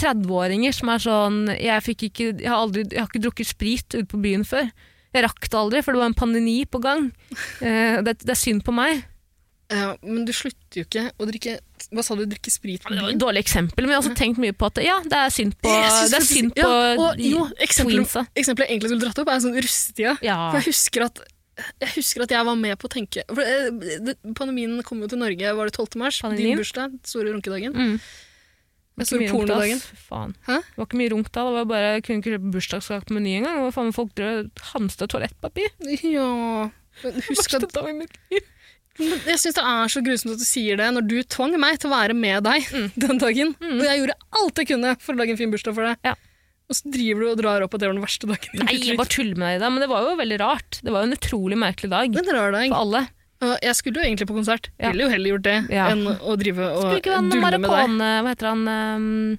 30-åringer som er sånn jeg, fikk ikke, jeg, har aldri, 'Jeg har ikke drukket sprit ute på byen før'. Jeg rakk det aldri, for det var en pandemi på gang. (laughs) Eh, det, det er synd på meg.
Ja, men du slutter jo ikke å drikke Hva sa du, drikke sprit på
Det var et
byen?
dårlig eksempel, men jeg har også tenkt mye på at Mm. ja, det er synd på,
Jeg synes
det er
faktisk-
synd på
ja, og, jo, eksempelet,
queensa.
eksempelet jeg egentlig skulle dratt opp, er sånn russetida.
Ja.
For
(laughs)
jeg husker, at, jeg husker at jeg var med på å tenke for, eh, det, Pandemien kom jo til Norge, var det 12. mars?
Pandemien?
Din bursdag, store runkedagen.
Mm. Ikke
Den store
mye runk da,
pornodagen.
ass. Fy Faen.
Hæ?
Det var ikke mye runk da. Det var bare, jeg kunne ikke kjøpe bursdagskake på Meny engang. Hva faen, folk drev og hamstra toalettpapir.
Ja men Husk at,
Verste dag i mitt liv.
men jeg syns det er så grusomt at du sier det, når du tvang meg til å være med deg
Mm.
(laughs) den dagen. Og jeg gjorde alt jeg kunne for å lage en fin bursdag for deg.
Ja.
Og så driver du og drar opp at det var den verste dagen. i
Nei,
ditt
jeg
liv.
bare tuller med deg i dag, men det var jo veldig rart. Det var jo en utrolig merkelig dag
Det er en rar dag.
for alle.
Og Jeg skulle jo egentlig på konsert.
Ja.
Ville jo heller gjort det
Ja.
enn å drive
Skulle
og
ikke han
dulle med deg.
Maracone, hva heter han, um,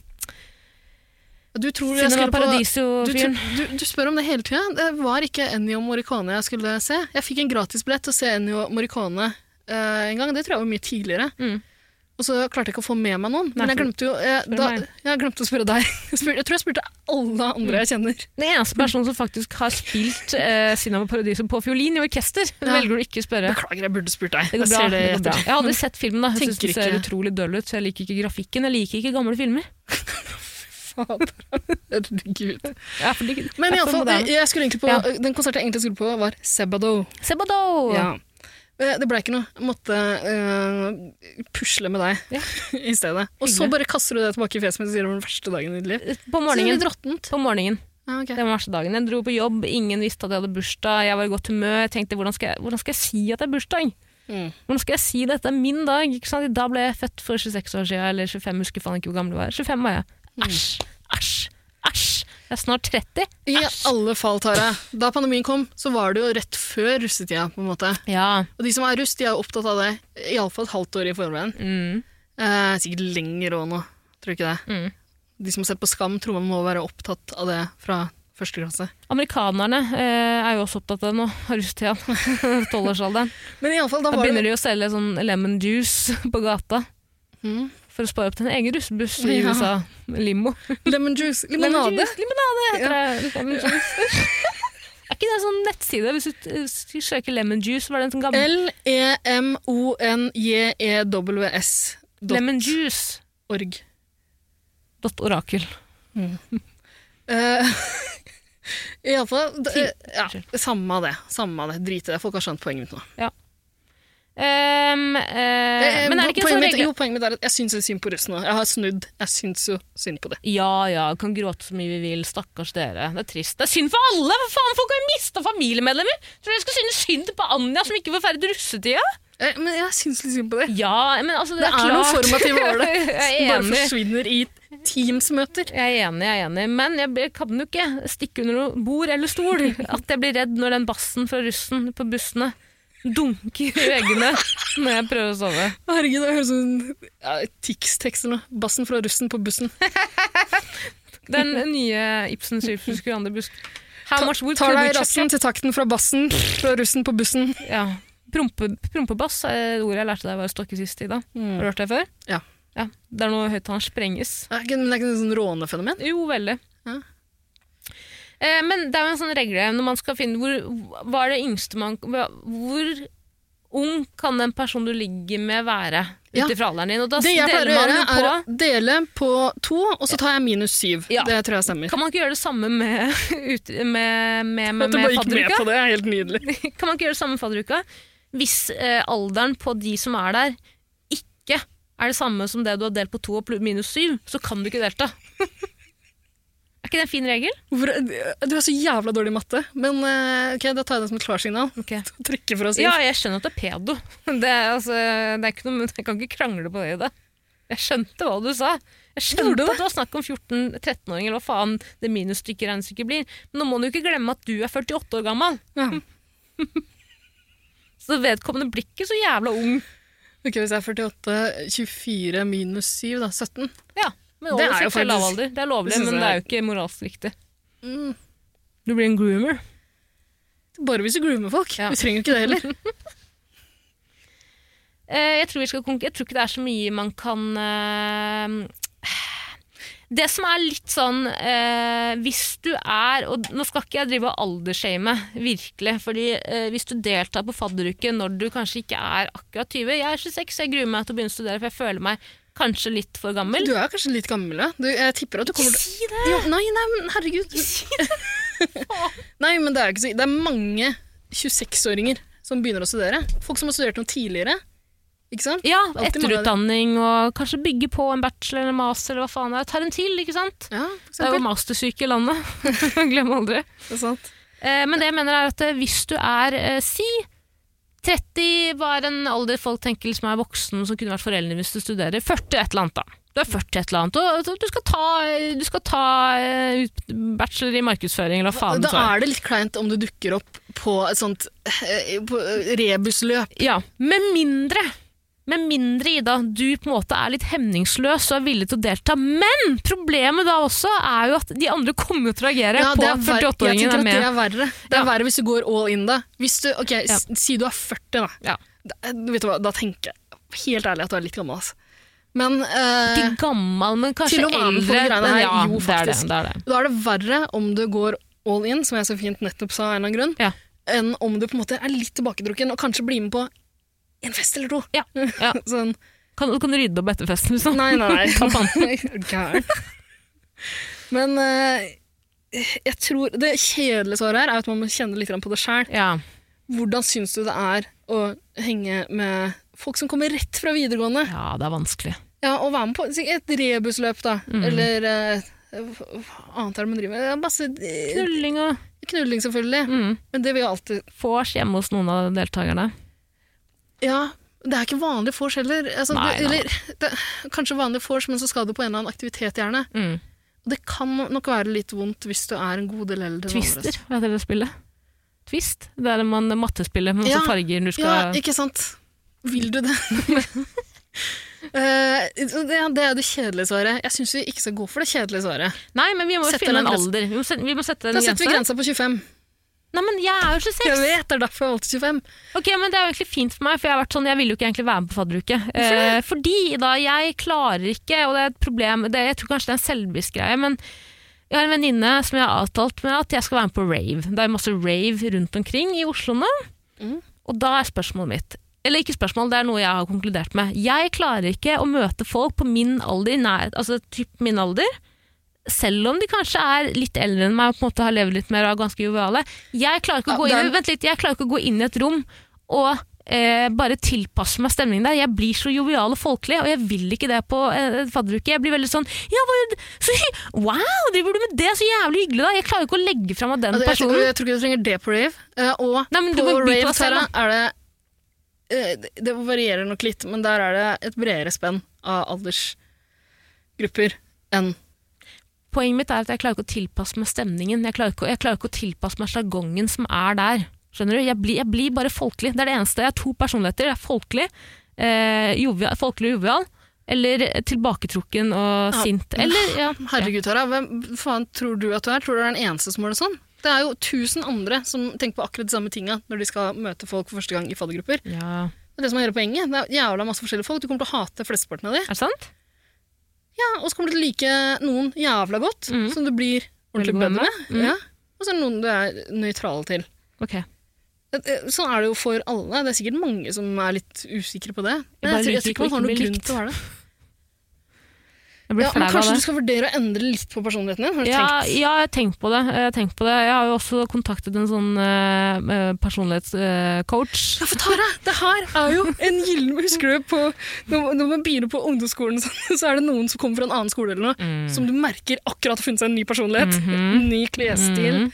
Du tror jeg
Cinema
skulle på du,
Paradiso-fyren?
tror- du, du spør om det hele tida. Det var ikke Ennio Morricone jeg skulle se. Jeg fikk en gratisbillett til å se Ennio Morricone eh, en gang. Det tror jeg var mye tidligere.
Mm.
Og så klarte jeg ikke å få med meg noen.
Nei,
Men jeg
for-
glemte jo jeg,
spør
da,
meg.
jeg glemte å spørre deg. (laughs) Jeg, spurte, jeg tror jeg spurte alle andre jeg kjenner.
Den eneste personen som faktisk har spilt eh, Cinema Paradiso på fiolin i orkester,
Ja.
velger du ikke å spørre.
Beklager, jeg burde spurt deg.
Det går
Jeg
bra.
ser
Det går bra.
etter.
Jeg har aldri sett filmen, da. Jeg synes
Tenker
den ser
ikke.
utrolig døll ut. så Jeg liker ikke grafikken. Jeg liker ikke gamle filmer.
Fader. (laughs) Herregud.
Jeg er for- jeg er for
Men iallfall,
moderne.
jeg skulle egentlig på,
Ja.
den konserten jeg egentlig skulle på, var Sebado.
Sebado!
Ja. Eh, Det ble ikke noe. Jeg måtte eh, pusle med deg
Ja.
(laughs) i stedet. Og så
Hyggelig.
bare kaster du det tilbake i fjeset mitt og sier det var den verste dagen i ditt liv.
På
Så det er
morgenen.
litt råttent.
På morgenen.
Ja, ok.
Det var den verste dagen. Jeg dro på jobb, ingen visste at jeg hadde bursdag. Jeg var i godt humør. Jeg tenkte hvordan skal jeg, hvordan skal jeg si at det er bursdag?
Mm.
Hvordan skal jeg si dette er min dag? Ikke sant? Da ble jeg født for 26 år siden, eller 25, husker faen ikke hvor gammel jeg var. 25 var jeg.
Mm.
Æsj, æsj, æsj. Jeg er snart 30.
I
Æsj.
alle fall, Tara. Da pandemien kom, så var det jo rett før russetida. på en måte.
Ja.
Og de som er russ, de er jo opptatt av det iallfall et halvt år i forveien.
Mm.
Eh, sikkert lenger òg nå, tror du ikke det?
Mm.
De som har sett på Skam, tror man må være opptatt av det fra første klasse.
Amerikanerne eh, er jo også opptatt av det nå, har lyst til han. (laughs) Tolvårsalderen.
Men iallfall, da
Da
var det
begynner de å selge sånn lemon juice på gata
Mm.
for å spare opp til en egen russebuss i
Ja.
USA. Limo.
Lemon juice. Limonade.
Lemon juice, Limonade heter det. Lemon juice. (laughs) er ikke det en sånn nettside? Hvis du eh, s- søker lemon juice, var det en sånn gammel
E L-e-m-o-n-j-e-w-s.org.
lemonjuice.orakel.
(laughs) Uh, Iallfall
Ti-
eh, ja,
unnskyld.
Samme av det. Samme av det. Drit i det. Folk har skjønt poenget mitt nå.
Ehm, eh,
Eh,
men er det ikke en
poenget
sånn
mitt,
regel?
Jo, poenget mitt er at jeg syns jo synd på russen nå. Jeg har snudd. Jeg syns jo synd på det.
Ja ja, vi kan gråte så mye vi vil, stakkars dere. Det er trist. Det er synd for alle! For faen, Folk har jo mista familiemedlemmer! Tror du jeg skal synes synd på Anja som ikke får ferdig russetida?
Eh, men jeg syns litt synd på det.
Ja, men altså, det,
Det er noen
klart.
formative år, det.
(laughs) jeg
Som
er
bare
enig.
forsvinner i Teams-møter.
Jeg er enig, jeg er enig, men jeg blir- kan jo ikke stikke under noe bord eller stol at jeg blir redd når den bassen fra russen på bussene dunker i veggene når jeg prøver å sove.
Herregud, det høres ut som ja, Tix-tekst eller noe. Bassen fra russen på bussen.
Den nye Ibsen Syfus Kurande Busk. How much wood
Tar
could we
deg
chop-
rassen til takten fra bassen, fra russen på bussen.
Ja. Prompe, prompebass er ordet jeg lærte deg var stokke sist i dag. Har du hørt det før?
Ja.
ja. Det er når høyttaleren sprenges.
Det er ikke, men det er ikke noe sånn rånefenomen.
Jo, veldig.
Ja.
Eh, men det er jo en sånn regle når man skal finne hvor, Hva er det yngste man hva- Hvor ung kan en person du ligger med, være?
Ja.
Ut ifra alderen din. Og da
Det jeg pleier
deler man
å gjøre,
jo
er
på
å dele på to, og så tar jeg minus syv.
Ja.
Det tror jeg stemmer.
Kan man ikke gjøre det samme med, (laughs) ut, med, med, med,
At du bare
med
gikk med
fadderuka?
på det, er helt nydelig.
Kan man ikke gjøre det samme med fadderuka? Hvis eh, alderen på de som er der, ikke er det samme som det du har delt på to og plu- minus syv, så kan du ikke
(laughs)
delta. er ikke det en fin regel?
Hvorfor- Du er så jævla dårlig i matte, men eh, ok, da tar jeg det som et klarsignal. (laughs)
Okay.
Trekker fra syv.
Ja, jeg skjønner at det er pedo. (laughs) Det er, altså, det er ikke noe, men jeg kan ikke krangle på det i det. Jeg skjønte hva du sa. Jeg skjønte at det var snakk om 14-13-åringer, eller hva faen det minusstykket regnestykket blir. Men nå må du ikke glemme at du er 48 år gammel.
Ja.
Så vedkommende blir ikke så jævla ung.
Ok, hvis jeg er 48, 24 minus 7, da, 17.
Ja, men
Det
over
er jo
seksuell
faktisk-
lavalder. Det er lovlig,
Det synes
men
jeg-
det er jo ikke moralsk riktig.
Mm.
Du blir en groomer.
Bare hvis du groomer folk.
Ja.
Vi trenger jo ikke det heller.
Eh, jeg, tror vi skal konk- jeg tror ikke det er så mye man kan eh, Det som er litt sånn eh, Hvis du er Og nå skal ikke jeg drive og aldersshame, virkelig. fordi eh, hvis du deltar på fadderuke når du kanskje ikke er akkurat 20 Jeg er 26, jeg gruer meg til å begynne å studere, for jeg føler meg kanskje litt for gammel.
Du er kanskje litt gammel, ja. Du, jeg tipper at du kommer til
Si det!
jo, Nei, nei, men
(laughs)
herregud. (laughs) nei, men det er, jo ikke så... det er mange 26-åringer som begynner å studere. Folk som har studert noe tidligere. Ikke sant?
Ja,
Alltid mange av
etterutdanning og kanskje bygge på en bachelor eller master eller hva faen det er. Tar en til, ikke sant?
Ja,
Det
for
er jo
eksempel.
mastersyke i landet. (laughs) Glem aldri.
Det er sant.
Eh, men det jeg mener er at eh, hvis du er, eh, si 30 var en alder folk tenker liksom er voksen, som kunne vært foreldrene hvis du studerer. 40 et eller annet, da. Du er 40 et eller annet, og og du skal ta, du skal ta eh, ut- bachelor i markedsføring, eller hva faen
Da
det var.
er det litt kleint om du dukker opp på et sånt eh, på eh, rebusløp.
Ja, med mindre, med mindre, Ida, du på en måte er litt hemningsløs og er villig til å delta. Men problemet da også er jo at de andre kommer jo til å reagere
Ja,
på
det er
at
ver- jeg
48-åringen er
tenker at
med.
det er verre. Det er
Ja.
verre hvis du går all in da. Hvis du, ok, s- Si du er 40, da.
Ja.
Da- eh, Vet du hva, da tenker jeg helt ærlig at du er litt gammel. Altså. Men eh,
Ikke gammel, men kanskje
Til å
eldre.
være med på de greiene
men
her,
ja,
jo,
det er det,
faktisk.
det er det.
da er det verre om du går all in, som jeg så fint nettopp sa av en eller annen grunn,
Ja.
enn om du på en måte er litt tilbakedrukken og kanskje blir med på en fest eller to.
Ja, ja.
(laughs) Sånn,
Kan, kan du rydde opp etter festen? Liksom?
nei, nei, nei.
Ta panten.
(laughs) Nei, er du gæren? Men eh, jeg tror det kjedelige svaret her er at man må kjenne litt grann på det sjæl.
(laughs) Ja.
Hvordan syns du det er å henge med folk som kommer rett fra videregående?
ja, det er vanskelig.
Ja, Og være med på si, et rebusløp, da.
Mm.
Eller eh, hva annet er det man driver med? Ja, Masse eh,
Knulling og
knulling, selvfølgelig.
mm,
Men det vil jo alltid
vors hjemme hos noen av deltakerne.
Ja, det er ikke vanlig vors heller. Altså,
Nei,
det,
nei, nei.
eller, det, er kanskje vanlig vors, men så skal du på en eller annen aktivitet, gjerne.
Mm.
Og det kan nok være litt vondt hvis du er en god del eldre. enn andre.
Twister, hva heter det spillet? Twist? Det er man mattespillet med masse
Ja.
farger du (laughs)
Ja,
skal
ikke sant. Vil du det? Eh, så det, det er jo det kjedelige svaret. Jeg syns vi ikke skal gå for det kjedelige svaret.
Nei, men vi må jo
Sette
finne
en
en
grense.
alder. Vi må sette, vi må sette en
Da setter vi
grense.
grensa på 25.
Nei, men jeg er jo
Jeg
26!
vet, det er derfor jeg valgte 25.
Ok, men Det er jo egentlig fint for meg, for jeg har vært sånn, jeg ville jo ikke egentlig være med på fadderuke. Eh, fordi da, jeg klarer ikke, og det er et problem det, Jeg tror kanskje det er en selvbevisst greie, men jeg har en venninne som jeg har avtalt med at jeg skal være med på rave. Det er masse rave rundt omkring i Oslo nå.
Mm.
Og da er spørsmålet mitt Eller ikke spørsmål, det er noe jeg har konkludert med. Jeg klarer ikke å møte folk på min alder, nei, altså typ min alder, selv om de kanskje er litt eldre enn meg og på en måte har levd litt mer og er ganske joviale. Jeg klarer ikke å
Ja,
gå
det er-
inn, vent litt, jeg klarer ikke å gå inn i et rom og eh, bare tilpasse meg stemningen der. Jeg blir så jovial og folkelig, og jeg vil ikke det på eh, fadderuke. Jeg blir veldig sånn ja, hva, så, hy- Wow, driver du med det? Så jævlig hyggelig, da! Jeg klarer ikke å legge fra meg den
Altså, jeg, tror-
personen.
jeg tror ikke du trenger det på rave. Eh, og
Nei, men du
på
må by på
rave
deg selv,
Tara, er det eh, det- Det varierer nok litt, men der er det et bredere spenn av aldersgrupper enn
Poenget mitt er at jeg klarer ikke å tilpasse meg stemningen. Jeg klarer ikke, å- jeg klarer ikke å tilpasse meg sjargongen som er der. Skjønner du? Jeg blir, jeg blir bare folkelig. Det er det eneste. Jeg har to personligheter. Jeg er folkelig, eh, jovial, folkelig og jovial. Eller tilbaketrukken og
Ja.
sint. Eller, ja.
Herregud, Tara, hvem faen tror du at du er? Tror du du er den eneste som har det sånn? Det er jo tusen andre som tenker på akkurat de samme tinga når de skal møte folk for første gang i faddergrupper.
ja.
Det er det som er hele poenget. Det er jævla masse forskjellige folk. Du kommer til å hate flesteparten av de.
Er det sant?
Ja, og så kommer du til å like noen jævla godt,
Mm.
som du blir ordentlig
Veldig god
bedre med.
med. Mm.
Ja. Og så er det noen du er nøytral til.
Ok.
Det- det- Sånn er det jo for alle. Det er sikkert mange som er litt usikre på det.
Jeg
Men
bare
jeg, tror, jeg
liker
tror ikke man
ikke
har
å
noen
bli
grunn
likt.
til å være det.
Jeg blir
Ja, men
flau av
kanskje du
det.
skal vurdere å endre litt på personligheten din? Har du
Ja,
tenkt?
ja, jeg har tenkt på det. Jeg har tenkt på det. Jeg har jo også kontaktet en sånn personlighetscoach.
Ja, for Tara, det her er jo en gyllen Husker du på, når når man begynner på ungdomsskolen, (laughs) så, så er det noen som kommer fra en annen skole eller noe,
Mm.
som du merker akkurat har funnet seg en ny personlighet,
Mhm.
en ny klesstil.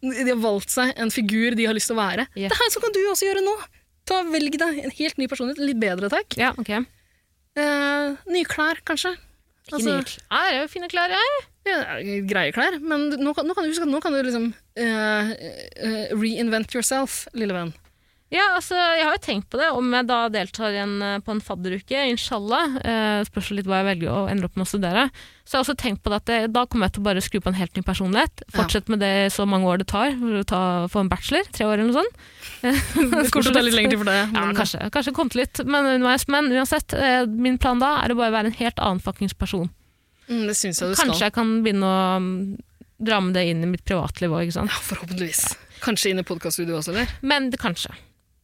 De har valgt seg en figur de har lyst til å være.
Ja.
Det her så kan du også gjøre nå! Ta, velg deg en helt ny personlighet. Litt bedre, takk.
Ja, ok. Ikke
Eh, nye klær, kanskje. Altså,
nye kl- Ja, det er jo fine klær, jeg.
ja, det er greie klær. Men du- nå kan, nå kan du huske at nå kan du liksom eh, eh, reinvent yourself, lille (laughs) venn.
Ja, altså, jeg har jo tenkt på det, om jeg da deltar i en, eh, på en fadderuke, inshallah, eh, spørs jo litt hva jeg velger å ender opp med å studere, så jeg har også tenkt på det at det, da kommer jeg til å bare skru på en helt ny personlighet, fortsette med det i så mange år det tar, for å ta, få en bachelor, tre år eller noe sånt.
Det kommer til å ta litt lengre tid for deg.
Ja,
men-
kanskje, kanskje kommet litt, men, underveis. men uansett, eh, min plan da er å bare være en helt annen fuckings person.
Mm, det syns jeg du skal.
Kanskje jeg kan begynne å mm, dra med det inn i mitt privatliv også, ikke sant?
Ja, forhåpentligvis. Kanskje inn i podkaststudioet også, eller?
Men det, kanskje.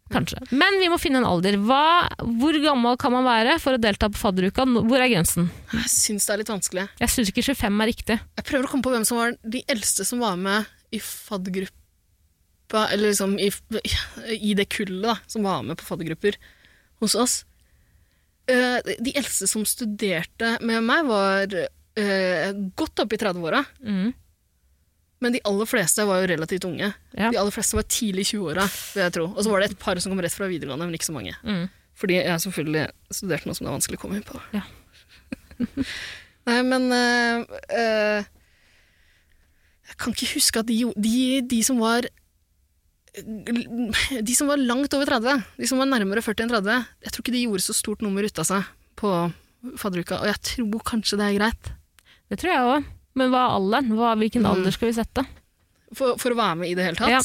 Kanskje. Men vi må finne en alder. Hva, hvor gammel kan man være for å delta på fadderuka? Nå- Hvor er grensen?
Jeg syns det er litt vanskelig.
Jeg syns ikke 25 er riktig.
Jeg prøver å komme på hvem som var de eldste som var med i faddergruppa, eller liksom i, i det kullet da, som var med på faddergrupper hos oss. Eh, De eldste som studerte med meg, var eh, godt oppe i 30-åra,
Mm.
men de aller fleste var jo relativt unge.
Ja.
De aller fleste var tidlig i 20-åra, vil jeg tro. Og så var det et par som kom rett fra videregående, men ikke så mange.
Mm.
Fordi jeg selvfølgelig studerte noe som det er vanskelig å komme inn på.
Ja.
(laughs) Nei, men eh, eh, Jeg kan ikke huske at de, jo- de, de som var De som var langt over 30, de som var nærmere 40 enn 30, jeg tror ikke de gjorde så stort nummer ut av seg på fadderuka. Og jeg tror kanskje det er greit.
Det tror jeg òg. Men hva er alderen? Hva, hvilken
Mm.
alder skal vi sette?
For, for å være med i det hele tatt.
Ja.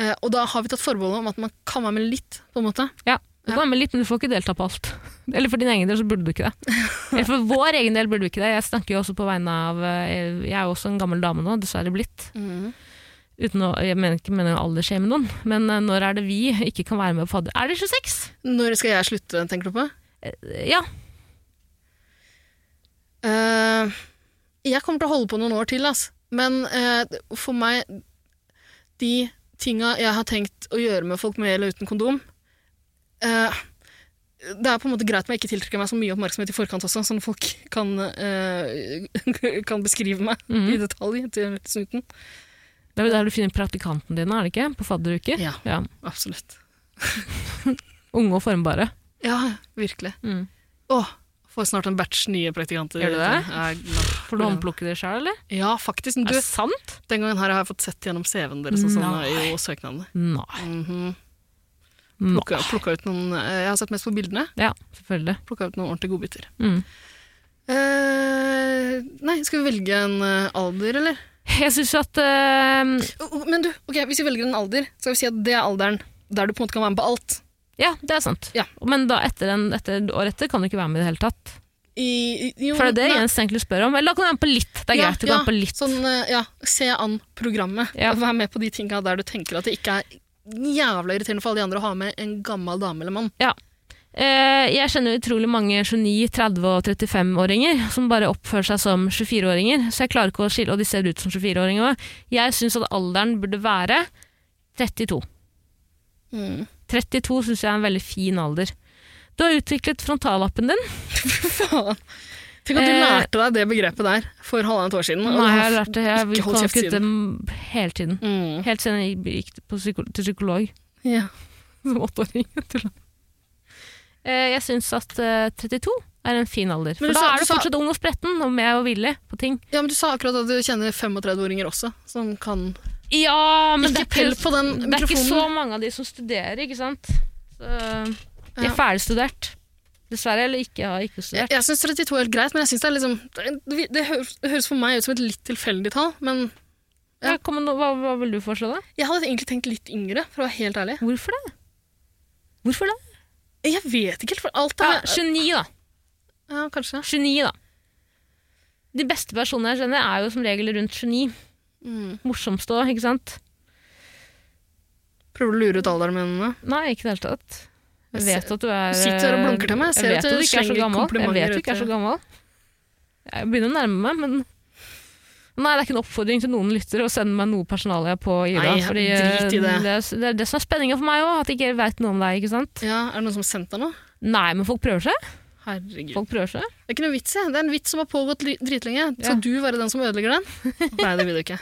Eh, og da har vi tatt forbehold om at man kan være med litt, på en måte.
Ja. Du
Ja.
kan være med litt, men du får ikke delta på alt. (laughs) Eller for din egen del så burde du ikke det.
(laughs)
Eller for vår egen del burde du ikke det. Jeg snakker jo også på vegne av eh, Jeg er jo også en gammel dame nå, dessverre blitt.
Mm.
Uten å, jeg mener ikke mener å aldersshame noen, men eh, når er det vi ikke kan være med på fadder... Er det 26?
Når skal jeg slutte, tenker du på?
Ja.
Eh, jeg kommer til å holde på noen år til, ass. men eh, for meg De tinga jeg har tenkt å gjøre med folk med eller uten kondom eh, Det er på en måte greit om jeg ikke tiltrekker meg så mye oppmerksomhet i forkant også, sånn at folk kan, eh, (laughs) kan beskrive meg
Mhm.
i detalj til snuten.
Det er jo der du finner praktikantene dine, er det ikke? På fadderuker.
Ja,
Ja.
absolutt.
Unge og formbare.
Ja, virkelig.
Mm.
Åh, får snart en batch nye praktikanter.
Gjør du det?
Jeg er glad for
Får du
det.
håndplukke det sjøl, eller?
Ja, faktisk.
er
Du,
det sant?
Mm. den gangen her har jeg fått sett gjennom CV-en deres og sånn,
Nei.
og søknadene.
Nei.
Mhm. Plukka, plukka ut noen eh, Jeg har sett mest på bildene.
Ja, selvfølgelig.
Plukka ut noen ordentlige godbiter.
Mm.
Eh, nei, skal vi velge en eh, alder, eller?
Jeg syns at eh,
Oh, oh, Men du, ok, hvis vi velger en alder, skal vi si at det er alderen der du på en måte kan være med på alt.
Ja, det er sant.
Ja.
Men da etter, en, etter året etter kan du ikke være med i det hele tatt.
I, i- jo,
For det er det
nei.
Jens egentlig spør om. Eller da kan du være med på litt. Det er greit, du kan være med på litt.
Sånn, eh, ja, se an programmet.
Ja.
Vær med på de tinga der du tenker at det ikke er jævla irriterende for alle de andre å ha med en gammel dame eller mann.
Eh, jeg kjenner utrolig mange 29-, 30- og 35-åringer som bare oppfører seg som 24-åringer. Så jeg klarer ikke å skille, og de ser ut som 24-åringer òg. Jeg syns at alderen burde være 32. Mm. 32 syns jeg er en veldig fin alder. Du har utviklet frontallappen din.
Faen. Tenk at du
Eh,
lærte deg det begrepet der for halvannet år siden. og
Nei, jeg har
har
lært det. Jeg
ikke holdt
kan
kjeft
kutte dem hele tiden.
Mm.
Helt siden jeg gikk på psyko til psykolog. (laughs)
Ja.
som åtteåring. tuller. Eh, Jeg syns at eh, 32 er en fin alder. For
Men du
da
sa-
er
du
du
sa-
fortsatt ung og spretten og med og villig på ting.
ja, men Du sa akkurat at du kjenner 35-åringer også, som kan
Ja, men
Ikke
det, er
pell på den
det er ikke
mikrofonen.
så mange av de som studerer, ikke sant. Så, de
Ja.
er ferdigstudert. Dessverre, eller ikke har ikke
Jeg,
studert.
jeg syns 32 er helt greit, men jeg synes det er liksom det, det høres, det høres for meg ut som et litt tilfeldig tall. Men Ja.
Ja, kom, nå- hva, hva vil du foreslå, da?
jeg hadde egentlig tenkt litt yngre, for å være helt ærlig.
Hvorfor det? Hvorfor det?
Jeg vet ikke helt, for alt
Ja,
er
29, da.
Ja, kanskje.
29, da. De beste personene jeg kjenner, er jo som regel rundt 29.
Mm.
Morsomste òg, ikke sant?
Prøver du å lure ut alderen min? nå?
Nei, ikke i det hele tatt. Jeg
Jeg
vet at du er
du sitter her og blunker til meg. Jeg ser
vet
at
ikke
du
er så
slenger
gammel. Jeg
komplimenter
vet du ikke er
ut
så
i-
gammel. Jeg begynner å nærme meg, men Nei, det er ikke en oppfordring til noen lyttere å sende meg noe personalia på Ida.
Nei,
eh,
drit i det.
Det, er, det er det som er spenninga for meg òg, at jeg ikke veit noe om deg. ikke sant?
Ja, Er det noen som har sendt deg noe?
Nei, men folk prøver seg.
Herregud.
Folk prøver seg.
Det er ikke noe vits, jeg. Det er en vits som har pågått li- dritlenge.
Ja.
Skal du være den som
(laughs)
ødelegger den? Nei, det vil du ikke.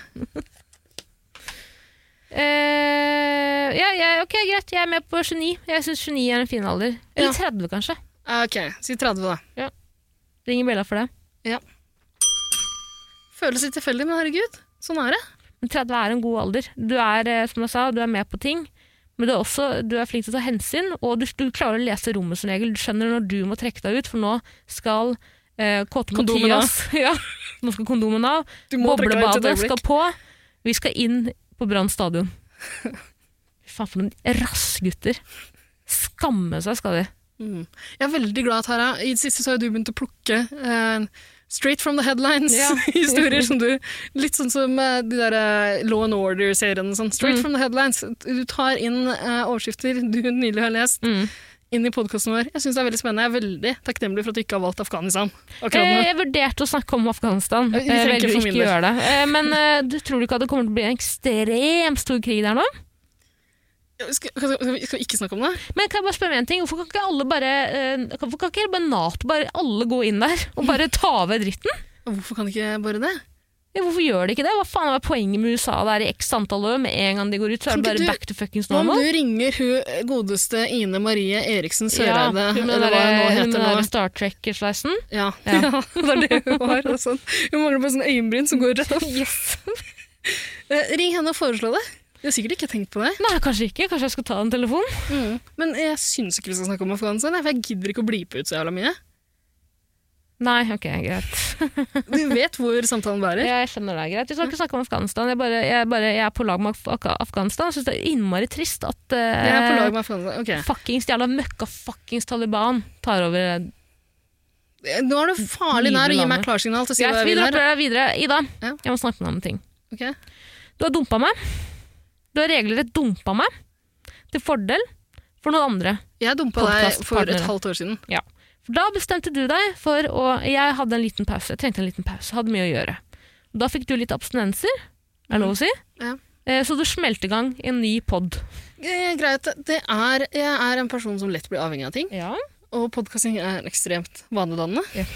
Eh, ja, ja, ok, greit, jeg er med på 29. Jeg syns 29 er en fin alder.
Ja.
Eller 30, kanskje.
Eh, Ok, si 30, da.
Ringer bjella for det.
Føles litt tilfeldig, men herregud, sånn er det.
Men 30 er en god alder. Du er, eh, som jeg sa, du er med på ting, men du er, også, du er flink til å ta hensyn, og du, du klarer å lese rommet som regel. Du skjønner når du må trekke deg ut, for nå skal eh, kåte
Kondomen
Mathias (laughs) ja, Nå skal kondomen av.
Du
Boblebadet skal på. Vi skal inn på Brann stadion. Fy Faen, for noen rassgutter. Skamme seg skal de.
Mm. Jeg er veldig glad, Tara. I det siste så har jo du begynt å plukke eh, straight from the (laughs)
Ja.
headlines-historier. som du, Litt sånn som eh, de der eh, Law and Order-seriene. Sånn. Straight
Mm.
from the headlines. Du tar inn eh, overskrifter du nylig har lest,
Mm.
inn i podkasten vår. Jeg syns det er veldig spennende. Jeg er veldig takknemlig for at du ikke har valgt Afghanistan. akkurat
Eh,
nå.
Jeg vurderte å snakke om Afghanistan.
Vi
Jeg
trenger
velger
ikke
å
for
ikke
min del.
gjøre det. Eh, Men eh, du tror du ikke at det kommer til å bli en ekstremt stor krig der nå?
Skal, skal, skal, vi, skal vi ikke snakke om det?
Men kan jeg bare spørre om en ting? Hvorfor kan ikke alle bare, eh, hvorfor kan ikke hele bare NATO bare alle gå inn der og bare ta over dritten?
Hvorfor kan ikke bare det?
Ja, hvorfor gjør de ikke det? Hva faen er poenget med USA der i x antall år? Med en gang de går ut, så er
Kan
det
ikke
bare
du-
back to fuckings
Hva om
normal.
du ringer hun godeste Ine Marie Eriksen Søreide,
hun med
eller hva hun nå
den
heter nå?
derre Star Trek-sveisen.
Ja.
Ja.
(laughs) ja, det er det hun har. Det er sånn. Hun mangler bare sånn øyenbryn som går rett opp. (laughs) Eh, Ring henne og foreslå det. Du har sikkert ikke tenkt på det.
Nei, kanskje ikke. Kanskje jeg skal ta en telefon?
Men jeg syns ikke vi skal snakke om Afghanistan, jeg, for jeg gidder ikke å blipe ut så jævla mye.
Nei, ok, greit.
Du vet hvor samtalen
(laughs)
bærer.
Ja, jeg skjønner det er greit. Vi skal ikke snakke om Afghanistan. Jeg, bare, jeg, bare, jeg er på lag med Af- Af- Afghanistan. Jeg syns det er innmari trist at eh,
Jeg er på lag med Afghanistan. Ok.
fuckings jævla møkka fuckings Taliban tar over
Eh, Nå er du farlig nær å gi meg klarsignal til å si
Greit,
hva jeg
vi
vil
dropper
her.
det videre. Ida,
Ja.
jeg må snakke med deg om en ting.
Ok.
Du har dumpa meg. Du har regelrett dumpa meg til fordel for noen andre.
Jeg dumpa deg for et
Podcastpartnere.
halvt år siden.
For da bestemte du deg for å Jeg hadde en liten pause. Jeg trengte en liten pause. Hadde mye å gjøre. Da fikk du litt abstinenser, er det lov å si?
Ja.
Eh, Så du smelte i gang en ny pod.
Eh, Greit, det er, jeg er en person som lett blir avhengig av ting.
Ja.
Og podkasting er ekstremt vanedannende.
Ja.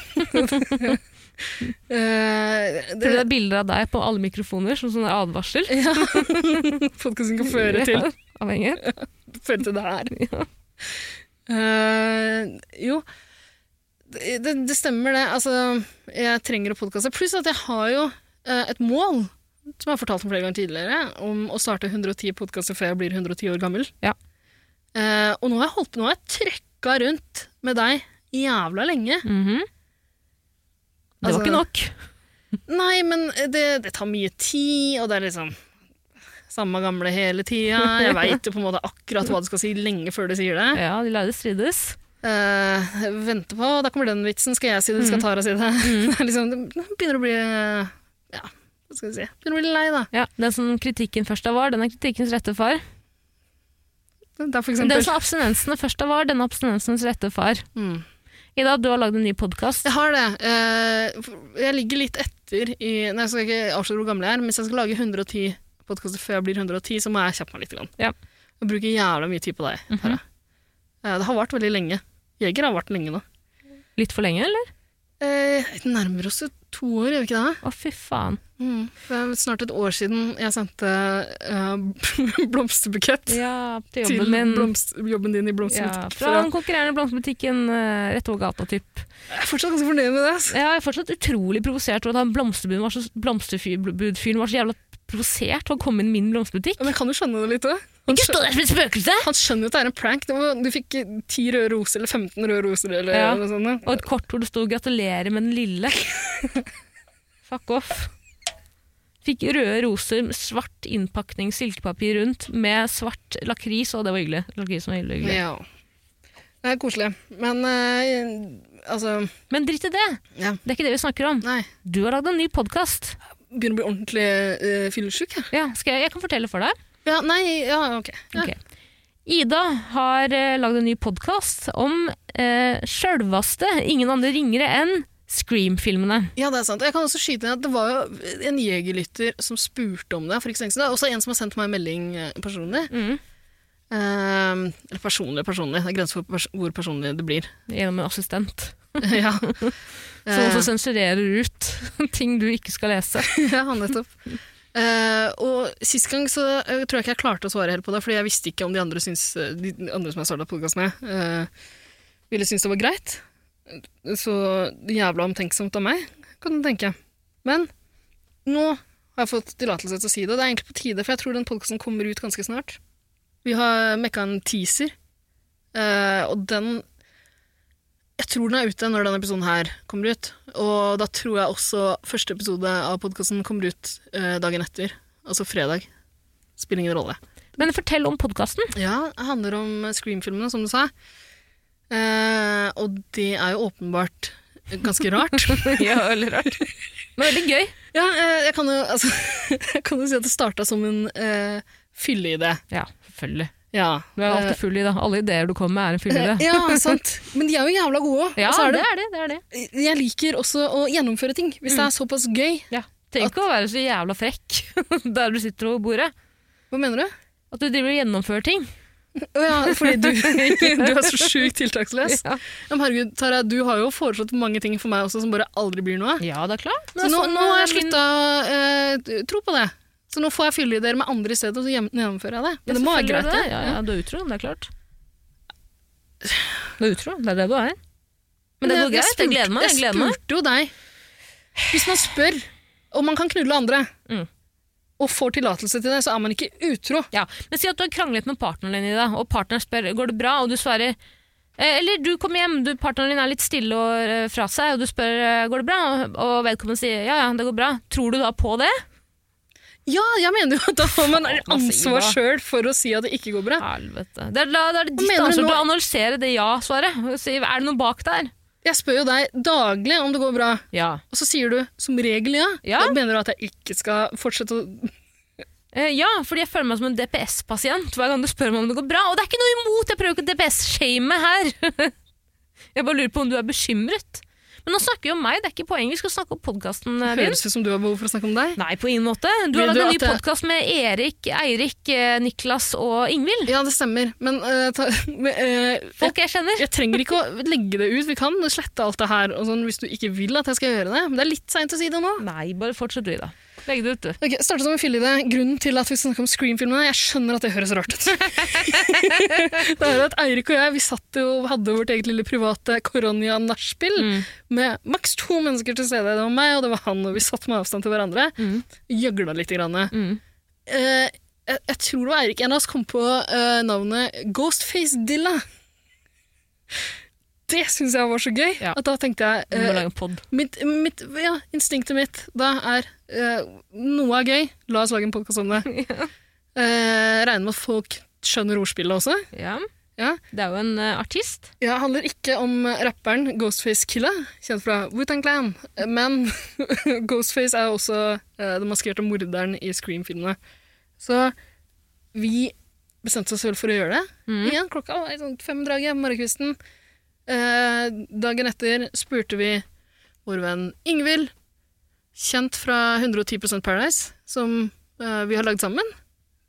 (laughs) Eh,
Det
det,
er bilder av deg på alle mikrofoner som sånn advarsel.
(laughs) ja. Podkasting kan føre til,
(laughs) Ja, Avhengig.
føre til det her.
Ja.
Eh, jo, det, det- det stemmer det. Altså, jeg trenger å podkaste. Pluss at jeg har jo eh, et mål, som jeg har fortalt om flere ganger tidligere, om å starte 110 podkaster før jeg blir 110 år gammel.
Ja.
Eh, og nå har jeg holdt på, nå har jeg trøkka rundt med deg jævla lenge.
Mhm. Det var
Altså-
ikke nok.
Nei, men det, det tar mye tid, og det er liksom samme gamle hele tida. (laughs) Jeg veit jo på en måte akkurat hva du skal si lenge før du sier det.
Ja, de lærde strides.
Eh, vente på, da kommer den vitsen. Skal jeg si det, skal Tara si det? (laughs) Det er liksom, det begynner å bli eh, Ja, hva skal vi si? Begynner å bli lei, da.
Ja, Den som kritikken først av var, den er kritikkens rette far.
Det er for
Den
eksempel
som abstinensene først av var, den er abstinensens rette far.
Mm.
Ida, du har lagd en ny podkast.
Jeg har det. Eh, for- jeg ligger litt etter i Nei, jeg skal ikke avsløre hvor gammel jeg er, men hvis jeg skal lage 110 podkaster før jeg blir 110, så må jeg kjappe meg litt. Grann.
Ja. Mhm.
Jeg bruker jævla mye tid på deg. Tara. Eh, det har vart veldig lenge. Jeger har vart lenge nå.
Litt for lenge, eller?
Eh, det nærmer oss jo to år, gjør vi ikke det?
Å, fy faen.
Mm. Det er snart et år siden jeg sendte eh, (laughs) blomsterbukett
Ja, til
til
jobben min.
blomst, jobben din i
Ja,
blomsterbutikk.
fra den konkurrerende blomsterbutikken eh, rett over gata, typ.
Jeg er fortsatt ganske fornøyd med det. ass.
Jeg er fortsatt utrolig provosert over at han blomsterbuden var så, blomsterbudfyren var så jævla provosert for å komme inn i min blomsterbutikk.
Ja, Men jeg kan jo skjønne det litt òg.
Ikke stå der som et spøkelse!
Han skjønner jo at det er en prank. Det var, du fikk eh, 10 røde roser, eller 15 røde roser, eller
Ja.
noe sånt.
Og et kort hvor det sto 'gratulerer med den lille'. Fuck off. Fikk røde roser, med svart innpakning, silkepapir rundt, med svart lakris, og det var hyggelig. Lakris var hyggelig, hyggelig.
Ja. Det er koselig. Men eh, altså
Men drit i det!
Ja.
Det er ikke det vi snakker om.
Nei.
Du har lagd en ny podkast.
Begynner å bli ordentlig uh, fyllesyk, jeg.
Ja, skal jeg, jeg kan fortelle for deg.
Ja, nei, ja, ok. Ja.
Ok. Ida har uh, lagd en ny podkast om uh, sjølvaste ingen andre ringere enn Scream-filmene.
ja, det er sant. Og Jeg kan også skyte inn at det var jo en jegerlytter som spurte om det. for ikke så lenge siden. Det er også en som har sendt meg en melding eh, personlig.
Mm.
Eh, eller personlig, personlig. Det er grenser for pers hvor personlig det blir. (laughs)
Gjennom en assistent.
ja.
Som også sensurerer ut (laughs) ting du ikke skal lese.
(laughs) Ja, nettopp. Eh, og sist gang så eh, tror jeg ikke jeg klarte å svare helt på det, fordi jeg visste ikke om de andre, syns, eh, de andre som jeg starta podkast med, eh, ville synes det var greit. Så jævla omtenksomt av meg, kan du tenke. Men nå har jeg fått tillatelse til å si det. Det er egentlig på tide, for jeg tror den podkasten kommer ut ganske snart. Vi har mekka en teaser, eh, og den jeg tror den er ute når denne episoden her kommer ut. Og da tror jeg også første episode av podkasten kommer ut eh, dagen etter. Altså fredag. Spiller ingen rolle.
Men fortell om podkasten.
Ja, det handler om Scream-filmene, som du sa. Eh, og det er jo åpenbart ganske rart.
ja, veldig rart. Men veldig gøy.
ja, eh, jeg kan jo, altså, (laughs) jeg kan jo si at det starta som en eh, fylleidé.
Ja, selvfølgelig.
Ja.
Du er jo alltid
Eh,
full i det. Alle ideer du kommer med, er en full i det.
ja, sant. Men de er jo jævla gode òg.
(laughs) Ja,
og så er
det
det,
er det. det, er det.
jeg liker også å gjennomføre ting. Hvis det er såpass gøy.
Ja. Tenk ikke å være så jævla frekk (laughs) der du sitter over bordet.
Hva mener du?
At du driver og gjennomfører ting.
Å ja, fordi (laughs) du, du er så sjukt tiltaksløs.
(laughs) Ja,
Ja, men herregud, Tara, du har jo foreslått mange ting for meg også som bare aldri blir noe av.
ja det er klart.
Så nå, nå har jeg slutta å eh, tro på det. Så nå får jeg fylle i dere med andre i stedet, og så gjen- gjennomfører jeg det. Men det må være greit, det.
Ja, ja, du er utro. Det er klart. Du er utro. Det er det du er. Men det
Jeg-
går
jeg
greit. Jeg gleder meg. Jeg gleder
Jeg
meg.
spurte jo deg. Hvis man spør om man kan knulle andre,
Mm.
og får tillatelse til det, så er man ikke utro.
Ja, Men si at du har kranglet med partneren din, Ida, og partneren spør går det bra, og du svarer eh, eller du kommer hjem, du, partneren din er litt stille og eh, fra seg, og du spør eh, går det bra, og, og vedkommende sier ja, ja, det går bra. Tror du da på det?
Ja, jeg mener jo at da har man
Faen, altså,
ansvar
Ida.
sjøl for å si at det ikke går bra.
Helvete. Det er, da, da er det
Hva
ditt
mener du
ansvar
nå?
å analysere det ja-svaret. og Si, er det noe bak der?
Jeg spør jo deg daglig om det går bra.
Ja.
Og så sier du som regel ja.
Ja.
Da mener du at jeg ikke skal fortsette å
Eh, ja, fordi jeg føler meg som en DPS-pasient hver gang du spør meg om det går bra. Og det er ikke noe imot, jeg prøver ikke å DPS-shame her. (laughs) jeg bare lurer på om du er bekymret. Men nå snakker vi om meg, det er ikke poenget. Vi skal snakke om podkasten din.
Høres ut som du har behov for å snakke om deg.
Nei, på ingen måte. Du
Vil
har lagd
du
en ny
at jeg-
podkast med Erik, Eirik, eh, Niklas og Ingvild.
Ja, det stemmer. Men, eh, ta, (laughs) men eh, jeg,
Folk jeg kjenner.
jeg trenger ikke å legge det ut. Vi kan slette alt det her og sånn, hvis du ikke vil at jeg skal gjøre det. Men det er litt seint å si det nå.
Nei, bare fortsett du, da. Legg det ut, du.
Ok, Starte som en filleidé. Grunnen til at vi snakker om Scream-filmene Jeg skjønner at det høres rart ut. (laughs) det er jo at Eirik og jeg vi satt jo og hadde vårt eget lille private Koronia-nachspiel
Mm.
med maks to mennesker til stede. Det var meg, og det var han, og vi satt med avstand til hverandre. Gjøgla litt. Grann.
Mm.
Eh, jeg, jeg tror det var Eirik en av oss kom på eh, navnet Ghostface Dilla. Det syns jeg var så gøy.
Ja.
At da tenkte jeg
Vi må
eh,
lage en pod.
mitt, mitt, ja, Instinktet mitt da er eh, noe er gøy, la oss lage en podkast om det. Eh, regner med at folk skjønner ordspillet også.
Ja.
Ja.
Det er jo en eh, artist.
Ja, det handler ikke om rapperen Ghostface Killa, kjent fra Wu-Tang Clan, men (laughs) Ghostface er også eh, den maskerte morderen i Scream-filmene. Så vi bestemte oss vel for å gjøre det.
Mm.
Igjen, klokka var sånn fem-draget på morgenkvisten. Eh, dagen etter spurte vi vår venn Ingvild, kjent fra 110 Paradise, som eh, vi har lagd sammen.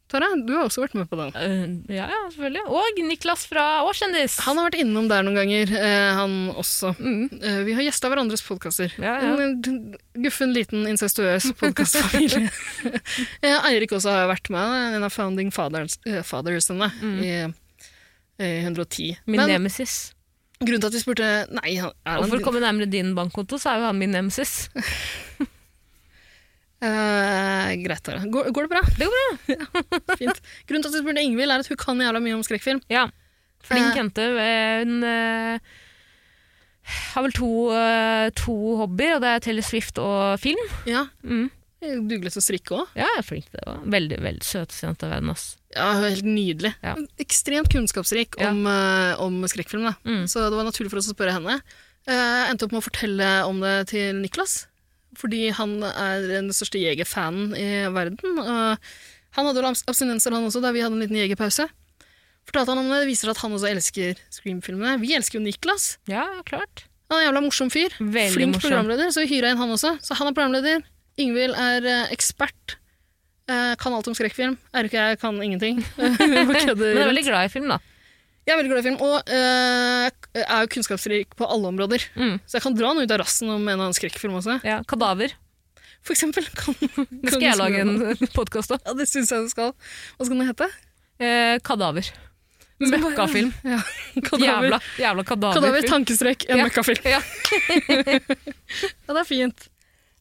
Tara, du har også vært med på den.
Eh, ja, ja, selvfølgelig. Og Niklas fra Årskjendis.
Han har vært innom der noen ganger, eh, han også.
Mm.
Eh, Vi har gjesta hverandres podkaster.
Ja, ja.
En guffen, liten,
(laughs)
incestuøs podkastfamilie. Eh, Eirik også har vært med, en av founding fathers, eh, fathersene i, i 110.
Mm. Min
Men
nemesis.
grunnen til at vi spurte Nei, han, er
Og
han
for å komme nærmere din bankkonto, så er jo han min nemesis.
Eh, Greit, Tara. Går, går det bra?
Det går
bra. ja, fint. Grunnen til at vi spurte Ingvild, er at hun kan jævla mye om skrekkfilm.
Ja. Flink
Eh.
jente. eh, Hun eh, har vel to, eh, to hobbyer, og det er Taylor Swift og film.
Ja,
Mm.
Dugelig til å strikke òg.
Ja, jeg er flink til det også. Veldig, veldig søteste jente i verden, ass.
Ja, hun er helt nydelig.
Ja.
Ekstremt kunnskapsrik
Ja.
om, eh, om skrekkfilm. Da.
Mm.
Så det var naturlig for oss å spørre henne. Eh, endte opp med å fortelle om det til Niklas, fordi han er den største jegerfanen i verden. og han hadde vel abs- abstinenser, han også, da vi hadde en liten jegerpause. Fortalte han om det, det viser at han også elsker Scream-filmene. Vi elsker jo Niklas.
Ja, klart.
Han er en jævla morsom fyr.
Veldig
Flink
morsom.
programleder, så vi hyra inn han også. Så han er programleder. Ingvild er eh, ekspert. Eh, kan alt om skrekkfilm. Eirik og jeg kan
(laughs)
ingenting. (laughs) Bare kødder
Men jeg er
rundt.
veldig glad i film, da.
jeg er veldig glad i film, og eh, er jo kunnskapsrik på alle områder.
Mm.
Så jeg kan dra han ut av rassen om en annen skrekkfilm også.
Ja, Kadaver.
For eksempel. Kan,
Det skal jeg lage en podkast om.
Ja, det syns jeg du skal. Hva skal den hete?
Eh, kadaver. (laughs) Møkkafilm.
Ja. Kadaver.
Jævla, jævla
Kadaver,
kadaverfilm.
tankestrek, en
Ja.
møkkafilm.
Ja.
(laughs) Ja, det er fint.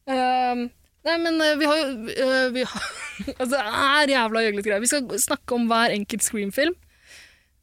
Ehm, nei, men eh, vi har jo eh, vi har, (laughs) altså, Det er jævla gjøglete greier. Vi skal snakke om hver enkelt Scream-film.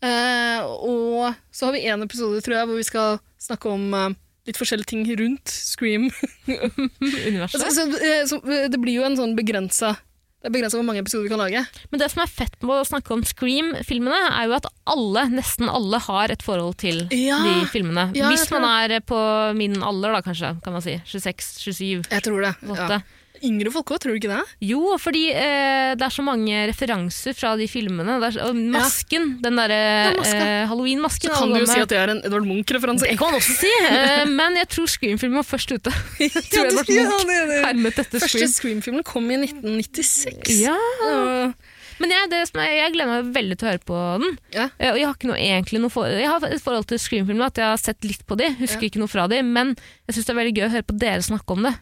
Eh, og så har vi en episode tror jeg, hvor vi skal snakke om eh, litt forskjellige ting rundt (laughs) Scream. altså,
(laughs) Universet.
så, eh, så, eh, det blir jo en sånn begrensa Det er begrensa hvor mange episoder vi kan lage.
Men det som er fett med å snakke om Scream-filmene, er jo at alle, nesten alle, har et forhold til
Ja.
de filmene.
Ja, jeg
Hvis
tror
man er på min alder, da, kanskje, kan man si. 26, 27,
Jeg tror det.
28.
Ja. Yngre folk òg, tror du ikke det?
Jo, fordi eh, det er så mange referanser fra de filmene. Det er, så- og masken, den derre
Ja, maska.
eh,
Så
halloween-masken.
kan
alle
du jo
med-
si at det er en Edvard Munch-referanse.
Det kan man også si, eh, men jeg tror Scream-filmen var først ute. (laughs)
Ja,
tror
du-
Edvard
ja,
Munch
det- det-
Hermet etter
Første
Scream.
Scream-filmen kom i 1996.
Ja.
Og-
Men jeg, det som er, jeg gleder meg veldig til å høre på den.
Ja.
Eh, Og jeg har ikke noe egentlig noe for, Jeg har et forhold til Scream-filmene, at jeg har sett litt på de, husker ikke noe fra de, men jeg syns det er veldig gøy å høre på dere snakke
(laughs)
om det.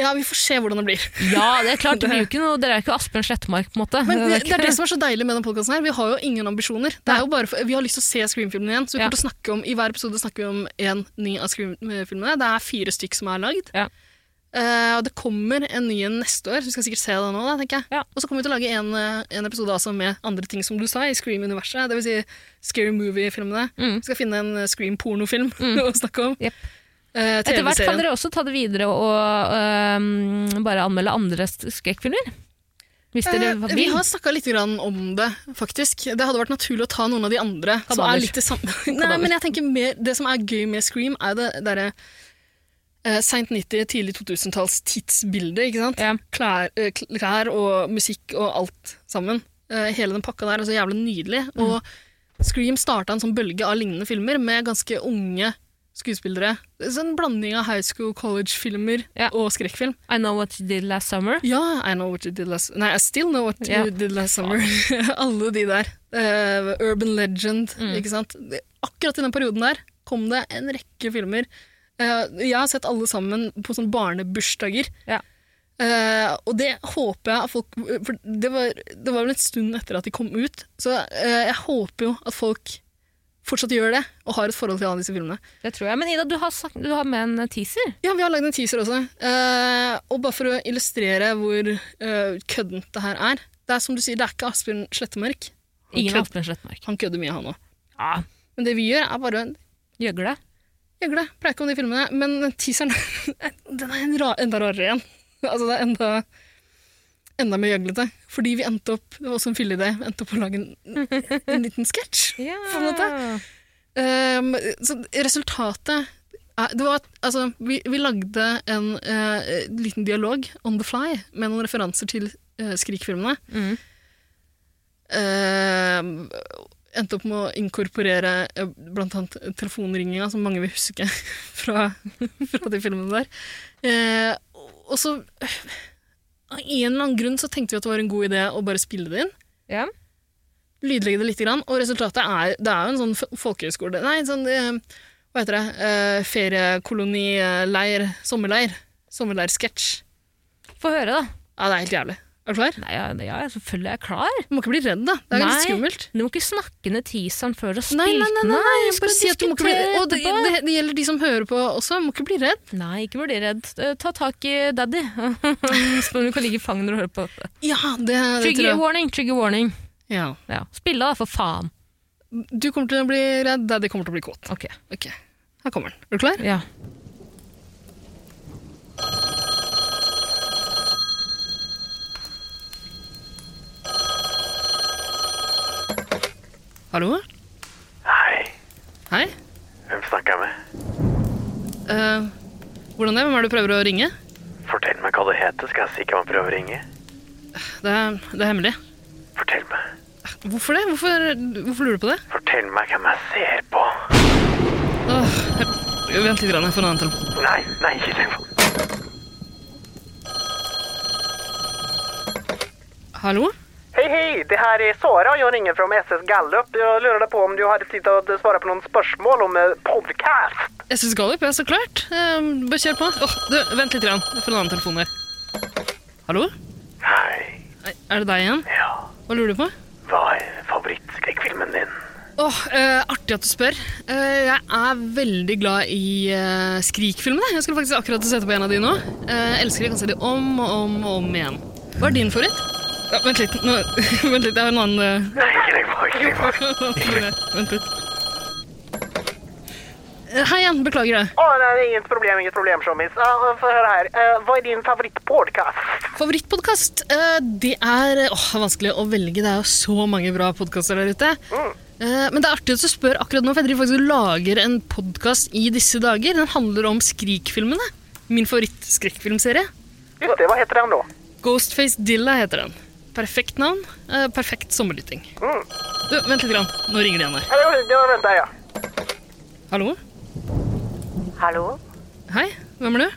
ja, vi får se hvordan det blir.
Ja, det er klart, det blir jo ikke noe, Dere er jo ikke Asbjørn Slettmark, på en måte. Det
Men det,
er
det
ikke-
er det som er så deilig med denne podkasten her. Vi har jo ingen ambisjoner. Det er jo bare for, vi har lyst til å se Scream-filmen igjen. Så vi
Ja.
kommer til å snakke om, I hver episode snakker vi om én ny av Scream-filmene. Det er fire stykk som er lagd.
Ja.
Eh, og det kommer en ny en neste år, så vi skal sikkert se den nå. Da, tenker jeg.
Ja.
Og så kommer vi til å lage en, eh, en episode altså, med andre ting som du sa, i Scream-universet. Dvs. Si Scary Movie-filmene.
Mm.
Vi skal finne en eh, Scream-pornofilm (laughs) å snakke om.
Jep.
Eh,
Etter hvert kan
TV-serien.
dere også ta det videre og øhm, bare anmelde andre sk- skrekkfilmer. Hvis dere
Eh,
vil.
Vi har snakka litt grann om det, faktisk. Det hadde vært naturlig å ta noen av de andre. Som
Kadaver.
er litt i samme... (laughs) Nei, men jeg tenker mer, Det som er gøy med Scream, er det derre eh, seint 90-, tidlig 2000-talls tidsbilde. ikke sant?
Ja.
Klær, eh, kl- klær og musikk og alt sammen. Eh, hele den pakka der er så jævlig nydelig.
Mm.
Og Scream starta en sånn bølge av lignende filmer med ganske unge skuespillere. Sånn blanding av high school, college-filmer
Ja.
og skrekkfilm.
I Know What You Did Last Summer.
Ja, I know what you did last Nei, I still know what you
Ja.
did last summer. (laughs) Alle de der. Eh, Urban Legend,
Mm.
ikke sant. Det- Akkurat i den perioden der kom det en rekke filmer. Eh, jeg har sett alle sammen på sånne barnebursdager.
Ja.
Eh, og det håper jeg at folk For det var, det var vel en stund etter at de kom ut, så eh, jeg håper jo at folk fortsatt gjør det, og har et forhold til alle disse filmene.
Det tror jeg. Men Ida, du har, sagt, du har med en teaser.
Ja, vi har lagd en teaser også. Eh, og bare for å illustrere hvor eh, køddent det her er, Det er som du sier, det er ikke Asbjørn Slettemark. Han
Ingen
kødd-
Asbjørn Slettmark.
Han kødder mye, han òg.
Ja,
Men det vi gjør, er bare en
gjøgle.
gjøgle. Preiker om de filmene. Men den teaseren den er (laughs) en ra enda rarere igjen. Altså, det er enda, enda mer gjøglete. Fordi vi endte opp Det var også en filleidé. Vi endte opp å lage en, en liten sketsj.
Ja.
På en måte. Um, så resultatet er, det var, at- altså, vi, vi lagde en eh, liten dialog on the fly med noen referanser til eh, Skrik-filmene.
Mm.
Eh, endte opp med å inkorporere eh, blant annet telefonringinga, som mange vil huske (laughs) fra, fra de filmene der. Eh, og så, eh, av en eller annen grunn, så tenkte vi at det var en god idé å bare spille det inn
Ja.
lydlegge det litt, grann, og resultatet er, det er jo en sånn f- folkehøyskole Nei, en sånn eh, Hva heter det? Eh, Feriekolonileir. Sommerleir. Sommerleirsketsj.
Få høre, da.
Ja, det er helt jævlig. Er du klar?
Nei, ja, ja, selvfølgelig er jeg klar.
Du må ikke bli redd, da. Det er
Nei.
litt skummelt.
Du må ikke snakke ned teaseren før du har
Nei,
spilt
nei, nei,
den.
nei, nei, jeg
skal
bare si at du må ikke bli
diskutere
Og det,
etterpå.
det, det gjelder de som hører på også, må ikke bli redd.
Nei, ikke bli redd. Eh, Ta tak i daddy. (laughs) Spør om du kan ligge i fanget når du hører på dette.
Ja, det, det tror
Trigger
jeg.
warning, trigger warning.
Ja.
Ja. Spille, da, for faen.
Du kommer til å bli redd, daddy kommer til å bli kåt.
Ok.
Ok, her kommer den. Er du klar?
Ja.
Hallo?
Hei,
Hei?
hvem snakker jeg med?
Eh, hvordan er det? Hvem er det du prøver å ringe?
Fortell meg hva du heter, skal jeg si hvem jeg prøver å ringe.
Det er, det er hemmelig.
Fortell meg.
Hvorfor det? Hvorfor, hvorfor lurer du på det?
Fortell meg hvem jeg ser på.
Åh, jeg- vent litt, grann, jeg får en annen telefon.
Nei, nei, ikke telefon.
Hallo?
Hej hej, det här är Sara och jag ringer från SS Gallup. Jag lurade på om du hade tid att svara på någon spörsmål om eh, podcast.
Jeg synes Gallup, ja, så klart. Ehm, bare kjør på. Åh, du, vent litt, grann. jeg får en annen telefon her. Hallo?
Hei,
Nei, Er det deg igjen?
ja.
Hva lurer du på?
Hva er favorittskrekkfilmen din?
Åh, eh, artig at du spør. Eh, jeg er veldig glad i eh, Skrik-filmene. Jeg skulle faktisk akkurat sette på en av de nå. Eh, elsker de, kan se de om og om og om igjen. Hva er din favoritt? Ja, vent litt, nå, (laughs) vent litt, jeg har en annen... eh, (laughs)
Nei, ikke legg på, ikke legg på.
Vent litt. Eh, Hei igjen, beklager det.
Åh, nej, inget problem, inget problem Shommis. Uh, för höra här, eh, vad är din favoritpodcast?
Favorittpodkast? eh, Det er åh, det er vanskelig å velge. Det er jo så mange bra podkaster der ute. Eh, Men det er artig at du spør akkurat nå, for jeg driver faktisk og lager en podkast i disse dager. Den handler om Skrik-filmene. Min favoritt-skrekkfilmserie.
Just det, vad heter den då?
Ghostface Dilla heter den. Perfekt navn. eh, Perfekt sommerlytting. Du, vent litt. Grann. Nå ringer det igjen her.
Eller hur, jag väntar jag.
Hallo?
Hallo,
Hei, hvem er du?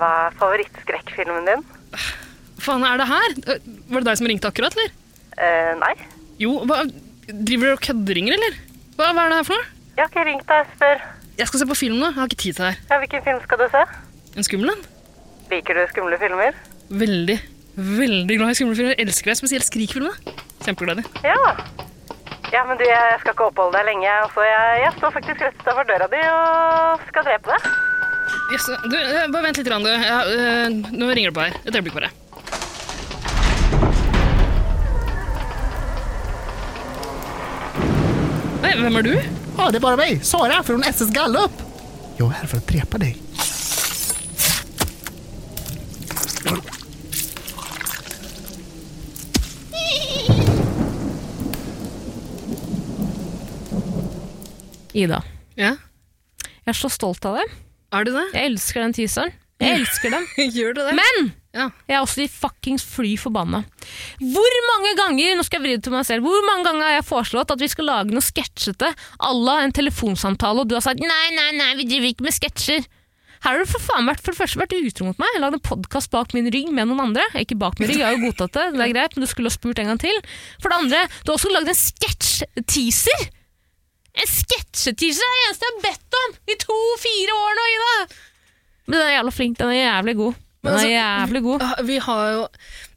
hva er favorittskrekkfilmen din?
Faen, er det her? Eh, Var det deg som ringte akkurat, eller?
Eh, nei,
Jo, hva, driver du og kødderinger, eller? Hva, hva er det her for noe?
jeg har ikke ringt deg, spør.
Jeg skal se på film nå, jeg har ikke tid til det her.
Ja, hvilken film skal du se?
En skummel en?
Liker du skumle filmer?
Veldig, veldig glad i skumle filmer. Jeg elsker deg, spesielt Skrik-filmene. Kjempeglad i dem.
Ja. Ja, men du, jeg skal ikke oppholde deg lenge. Altså, jeg, jeg står faktisk rett utenfor døra di og skal drepe deg.
Yes, du, eh, bare vent litt, grann, du. Ja, eh, nå ringer det på her. Et øyeblikk bare. Hei, hvem er du?
Ja, det är bara mig, Sara från SS Gallup. Jag är här för att drepa dig.
Ida.
Ja,
Jeg er så stolt av deg.
er du det?
Jeg elsker den teaseren. Jeg elsker den.
(laughs) Gjør du det?
Men
Ja.
jeg er også de fuckings fly forbanna. Hvor mange ganger nå skal jeg vri det til meg selv, hvor mange ganger har jeg foreslått at vi skal lage noe sketsjete à la en telefonsamtale, og du har sagt nei, nei, nei, vi driver ikke med sketsjer. Her har du for faen vært for det første vært utro mot meg. Lagd en podkast bak min rygg med noen andre. Ikke bak min rygg, jeg har jo godtatt det, det er greit, men du skulle ha spurt en gang til. For det andre, du har også lagd en sketsj-teaser. En sketsjeteaser er det eneste jeg har bedt om i to-fire år nå, Ida! Men den er jævla flink. Den er jævlig god. Den
Men altså-
er jævlig god.
Ja, Vi har jo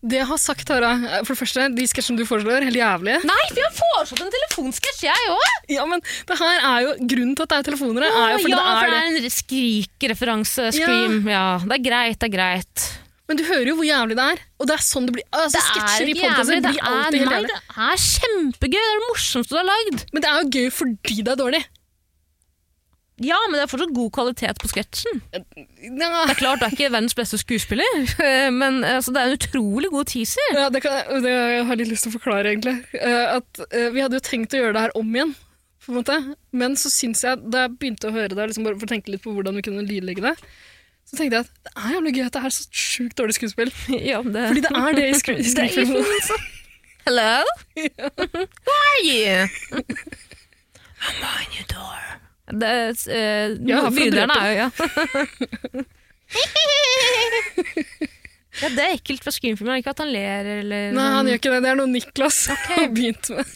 Det jeg har sagt, Tara eh, For det første, de sketsjene du foreslår, helt jævlige.
Nei, for jeg har foreslått en telefonsketsj, jeg òg!
Ja, men det her er jo Grunnen til at det er telefoner her,
Ja,
er jo fordi
for
det er det.
det er en skrikereferanse. Scream. Ja. det er greit, det er greit.
Men du hører jo hvor jævlig det er. Og det er sånn det blir. Altså,
Det er
sketsjer i
ikke jævlig,
podcaster
det
blir
er,
alltid helt
nei,
jævlig.
det er kjempegøy. Det er det morsomste du har lagd.
Men det er jo gøy fordi det er dårlig.
Ja, men det er fortsatt god kvalitet på sketsjen.
Ja,
Det er klart, det er ikke verdens beste skuespiller, (laughs) men altså, det er en utrolig god teaser.
(laughs) ja, det, kan, jeg- det jeg har jeg litt lyst til å forklare, egentlig. Eh, at eh, Vi hadde jo tenkt å gjøre det her om igjen, på en måte. Men så syns jeg, da jeg begynte å høre det, liksom bare for å tenke litt på hvordan vi kunne lydlegge det, så tenkte jeg at det er jævlig gøy at det er så sjukt dårlig skuespill. (laughs)
Ja, det...
Fordi det er (laughs) det i skru- i altså. skruefilmen.
Hello? Who are you? I'm on your door. Det, eh,
Ja,
noe-
fra
Begynneren er jo ja. (laughs) ja. Det er ekkelt fra skumfilmer. Ikke at han ler eller
Nei, han gjør ikke det. Det er noe Niklas har begynt med.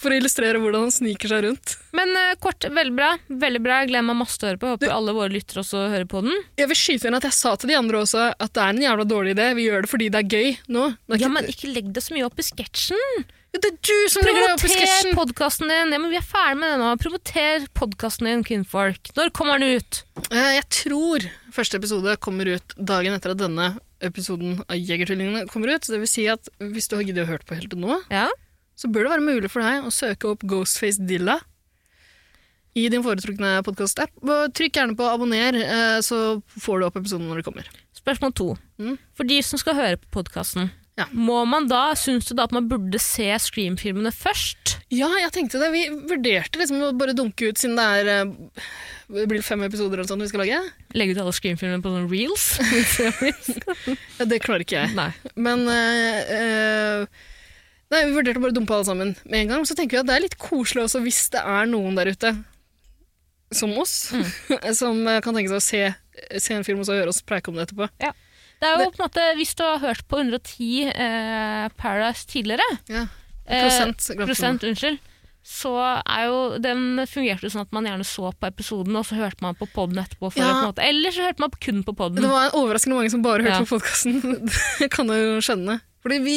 For å illustrere hvordan han sniker seg rundt.
Men eh, kort, veldig bra. Veldig bra. Jeg Gleder meg masse til å høre på. Håper alle våre lyttere også hører på den.
Jeg vil skyte inn at jeg sa til de andre også at det er en jævla dårlig idé. Vi gjør det fordi det er gøy nå. Det
Ja,
er ikke-
men ikke legg deg så mye opp i sketsjen.
Ja, det er du
Mm,
som legger deg opp i
Promoter
sketsjen!
podkasten din. Ja, men vi er ferdig med det nå. Promoter podkasten din, kvinnfolk. Når kommer den ut?
Eh, Jeg tror første episode kommer ut dagen etter at denne episoden av Jegertvillingene kommer ut. Så det vil si at hvis du har giddet å høre på helt til nå,
Ja.
så bør det være mulig for deg å søke opp Ghostface Dilla i din foretrukne podkast-app. Og Trykk gjerne på abonner, eh, så får du opp episoden når det kommer.
Spørsmål to.
Mm.
For de som skal høre på podkasten,
Ja.
må man da, syns du da at man burde se Scream-filmene først?
Ja, jeg tenkte det. Vi vurderte liksom å bare dunke ut siden det er eh, det blir fem episoder eller sånt vi skal lage.
Legge ut alle Scream-filmene på sånne reels? (laughs)
Ja, Det klarer ikke jeg.
Nei.
Men eh, eh, Nei, vi vurderte å bare dumpe alle sammen med en gang. Så tenker vi at det er litt koselig også hvis det er noen der ute som oss,
Mm.
(laughs) som eh, kan tenke seg å se, se en film og så høre oss preike om det etterpå.
Det er jo på en måte, Hvis du har hørt på 110 eh, Paradise tidligere
Ja.
eh,
Prosent, glemte
prosent, unnskyld, så er jo, Den fungerte jo sånn at man gjerne så på episoden, og så hørte man på poden etterpå. For
Ja.
å på en måte. Eller så hørte man kun på
Det
poden.
var overraskende mange som bare hørte
Ja.
på podkasten. (laughs) Det kan jeg jo skjønne. Fordi vi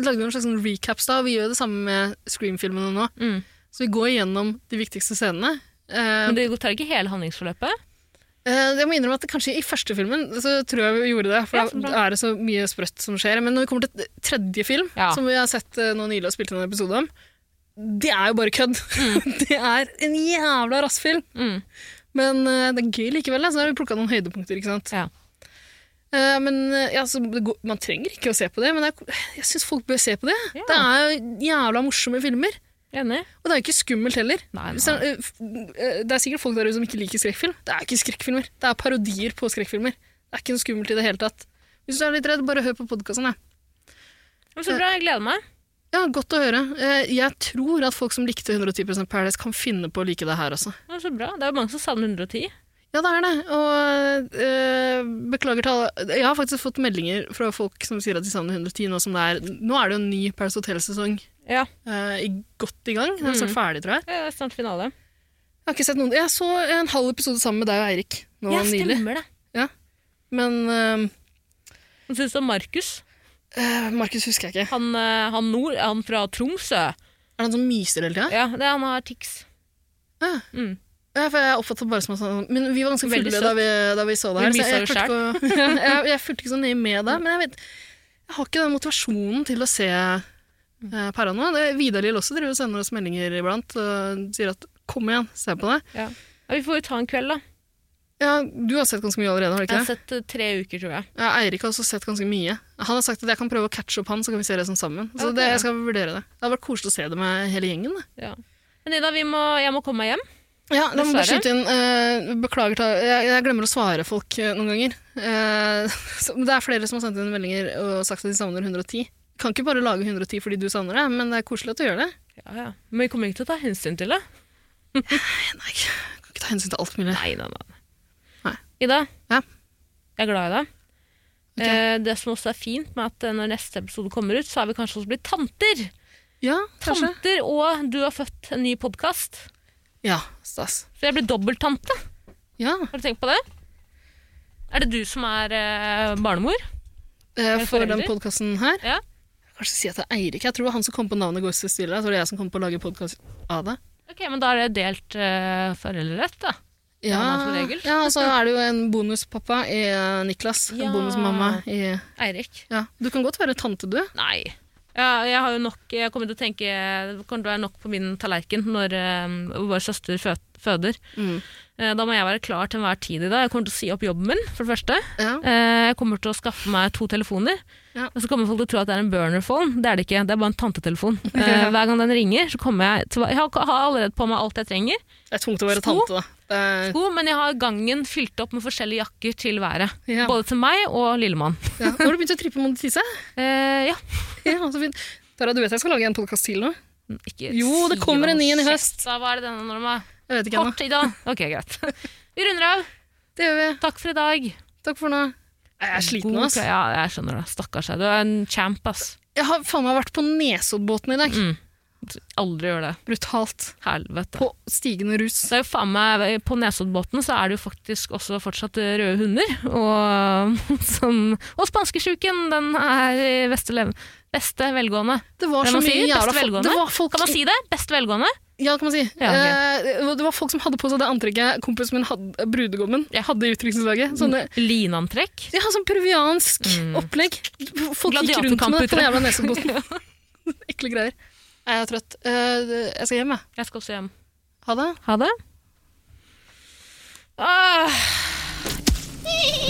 lagde jo en slags sånn recaps da, og vi gjør det samme med Scream-filmene nå.
Mm.
Så vi går gjennom de viktigste scenene. Eh,
Men det tar ikke hele handlingsforløpet.
Eh, Jeg må innrømme at kanskje i første filmen så tror jeg vi gjorde det, for
Ja, så bra.
da er det så mye sprøtt som skjer. Men når vi kommer til tredje film,
Ja.
som vi har sett eh, nå nylig og spilt inn en episode om, det er jo bare kødd. (laughs) det er en jævla rassfilm.
Mm.
Men eh, det er gøy likevel, da, så da har vi plukka noen høydepunkter, ikke sant.
Ja.
Eh, men eh, ja, så det går, man trenger ikke å se på det, men det er, jeg syns folk bør se på det.
Ja.
Det er jo jævla morsomme filmer.
Enig?
Og det er jo ikke skummelt heller.
Nei, nei.
Så, eh, f- eh, Det er sikkert folk der ute som ikke liker skrekkfilm. Det er ikke skrekkfilmer. Det er parodier på skrekkfilmer. Det er ikke noe skummelt i det hele tatt. Hvis du er litt redd, bare hør på podkasten.
Men Så bra, jeg gleder meg.
Ja, godt å høre. Eh, Jeg tror at folk som likte 110 Paradise, kan finne på å like det her også.
Ja, Så bra. Det er jo mange som savner 110.
Ja, det er det. Og eh, beklager til alle Jeg har faktisk fått meldinger fra folk som sier at de savner 110 nå som det er Nå er det jo en ny Paradise Hotel-sesong
Ja,
eh, i- godt i gang. Den er
Mhm.
snart ferdig, tror jeg.
det er snart finale.
Jeg har ikke sett noen Jeg så en halv episode sammen med deg og Eirik nå
ja,
nylig.
stemmer det.
Men eh, øhm,
Hva syns du om Markus?
øh, Markus husker jeg ikke.
Han, eh, han, nord, han fra Tromsø.
Er det han som myser hele tida?
Ja, det er han har tics.
Ja.
Mm.
Ja, for jeg oppfattet bare som at han Men vi var ganske
Veldig søt.
fulle da vi, da vi så det
Vi mysa
her. så jeg,
jo
fulgte ikke- (laughs) jeg, jeg fulgte ikke så nøye med det. Men jeg vet Jeg har ikke den motivasjonen til å se uh, para nå. Det- Vidar Lill også driver og sender oss meldinger iblant og sier at kom igjen, se på det.
Ja, vi får jo ta en kveld, da.
Ja, Du har sett ganske mye allerede, har du
Jeg
ikke
har
det?
sett eh, tre uker, tror jeg.
Ja, Eirik har også sett ganske mye. Han har sagt at jeg kan prøve å catche opp han, så kan vi se det sånn sammen. Så
Ja, det
det,
er.
jeg skal vurdere det. Det hadde vært koselig å se det med hele gjengen. da.
Men Ida, vi må, jeg må komme meg hjem.
Ja, la meg bare
Dessverre.
skyte inn. eh, beklager, ta, jeg, jeg glemmer å svare folk eh, noen ganger. Eh, (laughs) så, det er flere som har sendt inn meldinger og sagt at de savner 110. Kan ikke bare lage 110 fordi du savner det, men det er koselig at du gjør det.
Ja, ja. Men vi kommer ikke til å ta hensyn til det.
Nei, jeg kan ikke ta hensyn til alt mulig.
Nei, nei, nei.
Nei.
Ida,
Ja.
jeg er glad i deg.
Ok.
Eh, det som også er fint med at eh, når neste episode kommer ut, så er vi kanskje også blitt tanter.
Ja, kanskje.
Tanter, og du har født en ny podkast.
Ja, stas.
Så jeg blir dobbelttante.
Ja,
Har du tenkt på det? Er det du som er eh, barnemor?
eh,
det
for den
foreldre?
podkasten her.
Ja.
Kanskje si at det er Eirik. Jeg tror det var han som kom på navnet Ghost Stille. Jeg tror det er jeg som kom på å lage podkast av det.
Ok, men da er det delt eh, foreldrerett, da.
Ja,
man som regel.
ja, så er det jo en bonuspappa i eh, Niklas.
Ja.
En bonusmamma i
Eirik?
ja. Du kan godt være tante, du.
Nei. Ja, jeg har jo nok, jeg kommer til å tenke Det kommer til å være nok på min tallerken når eh, vår søster fø føder.
Mm.
Eh, da må jeg være klar til enhver tid i dag. Jeg kommer til å si opp jobben min, for det første.
Ja.
Eh, jeg kommer til å skaffe meg to telefoner.
Ja.
Og så kommer folk til å tro at det er en burner-phone. Det er det ikke. Det er bare en
(laughs)
tantetelefon. Eh, hver gang den ringer, så kommer jeg til Jeg har har allerede på meg alt jeg trenger.
Det er tungt å være
Sko?
tante, da. Det er,
Sko, men jeg har gangen fylt opp med forskjellige jakker til været.
Ja.
Både til meg og lillemann.
ja. Nå har du begynt å trippe mot tisse.
Eh, ja.
Ja, så fint. Tara, du vet jeg skal lage en podkast til nå?
Ikke
Jo, det
si
kommer
hva
en ny en i
skjer.
høst.
Da, hva er det denne norma?
Jeg vet ikke ennå.
Kort i dag. Ok, greit. Vi runder av.
Det gjør vi.
Takk for i dag.
Takk for nå. Jeg er sliten,
Mm, God
ass.
kve- Ja, jeg skjønner det. Stakkars deg. Du er en champ, ass.
Jeg har faen meg vært på Nesoddbåten i dag.
Mm. Aldri gjør det.
Brutalt.
Helvete.
På stigende rus.
Så er jo faen meg, på Nesoddbåten så er det jo faktisk også fortsatt røde hunder. Og, (laughs) som, og spanskesjuken, den er i beste, lev- beste velgående.
Det var
Det
så
man
mye
sier,
jævla
beste
folk.
velgående.
Det var folk
Kan man si det? Beste velgående?
Ja, det kan man si.
Ja,
Eh, det var folk som hadde på seg det antrekket kompisen min hadde, brudgommen
Ja.
hadde i utdrikningslaget. Sånne
Linantrekk?
ja, sånn peruviansk
Mm.
opplegg. Folk gikk rundt med det på den jævla nesebåten. (laughs) Ekle greier. Nei, Jeg er trøtt. Eh, jeg skal hjem, jeg.
Jeg skal også hjem.
Ha det.
Ha det. Ah.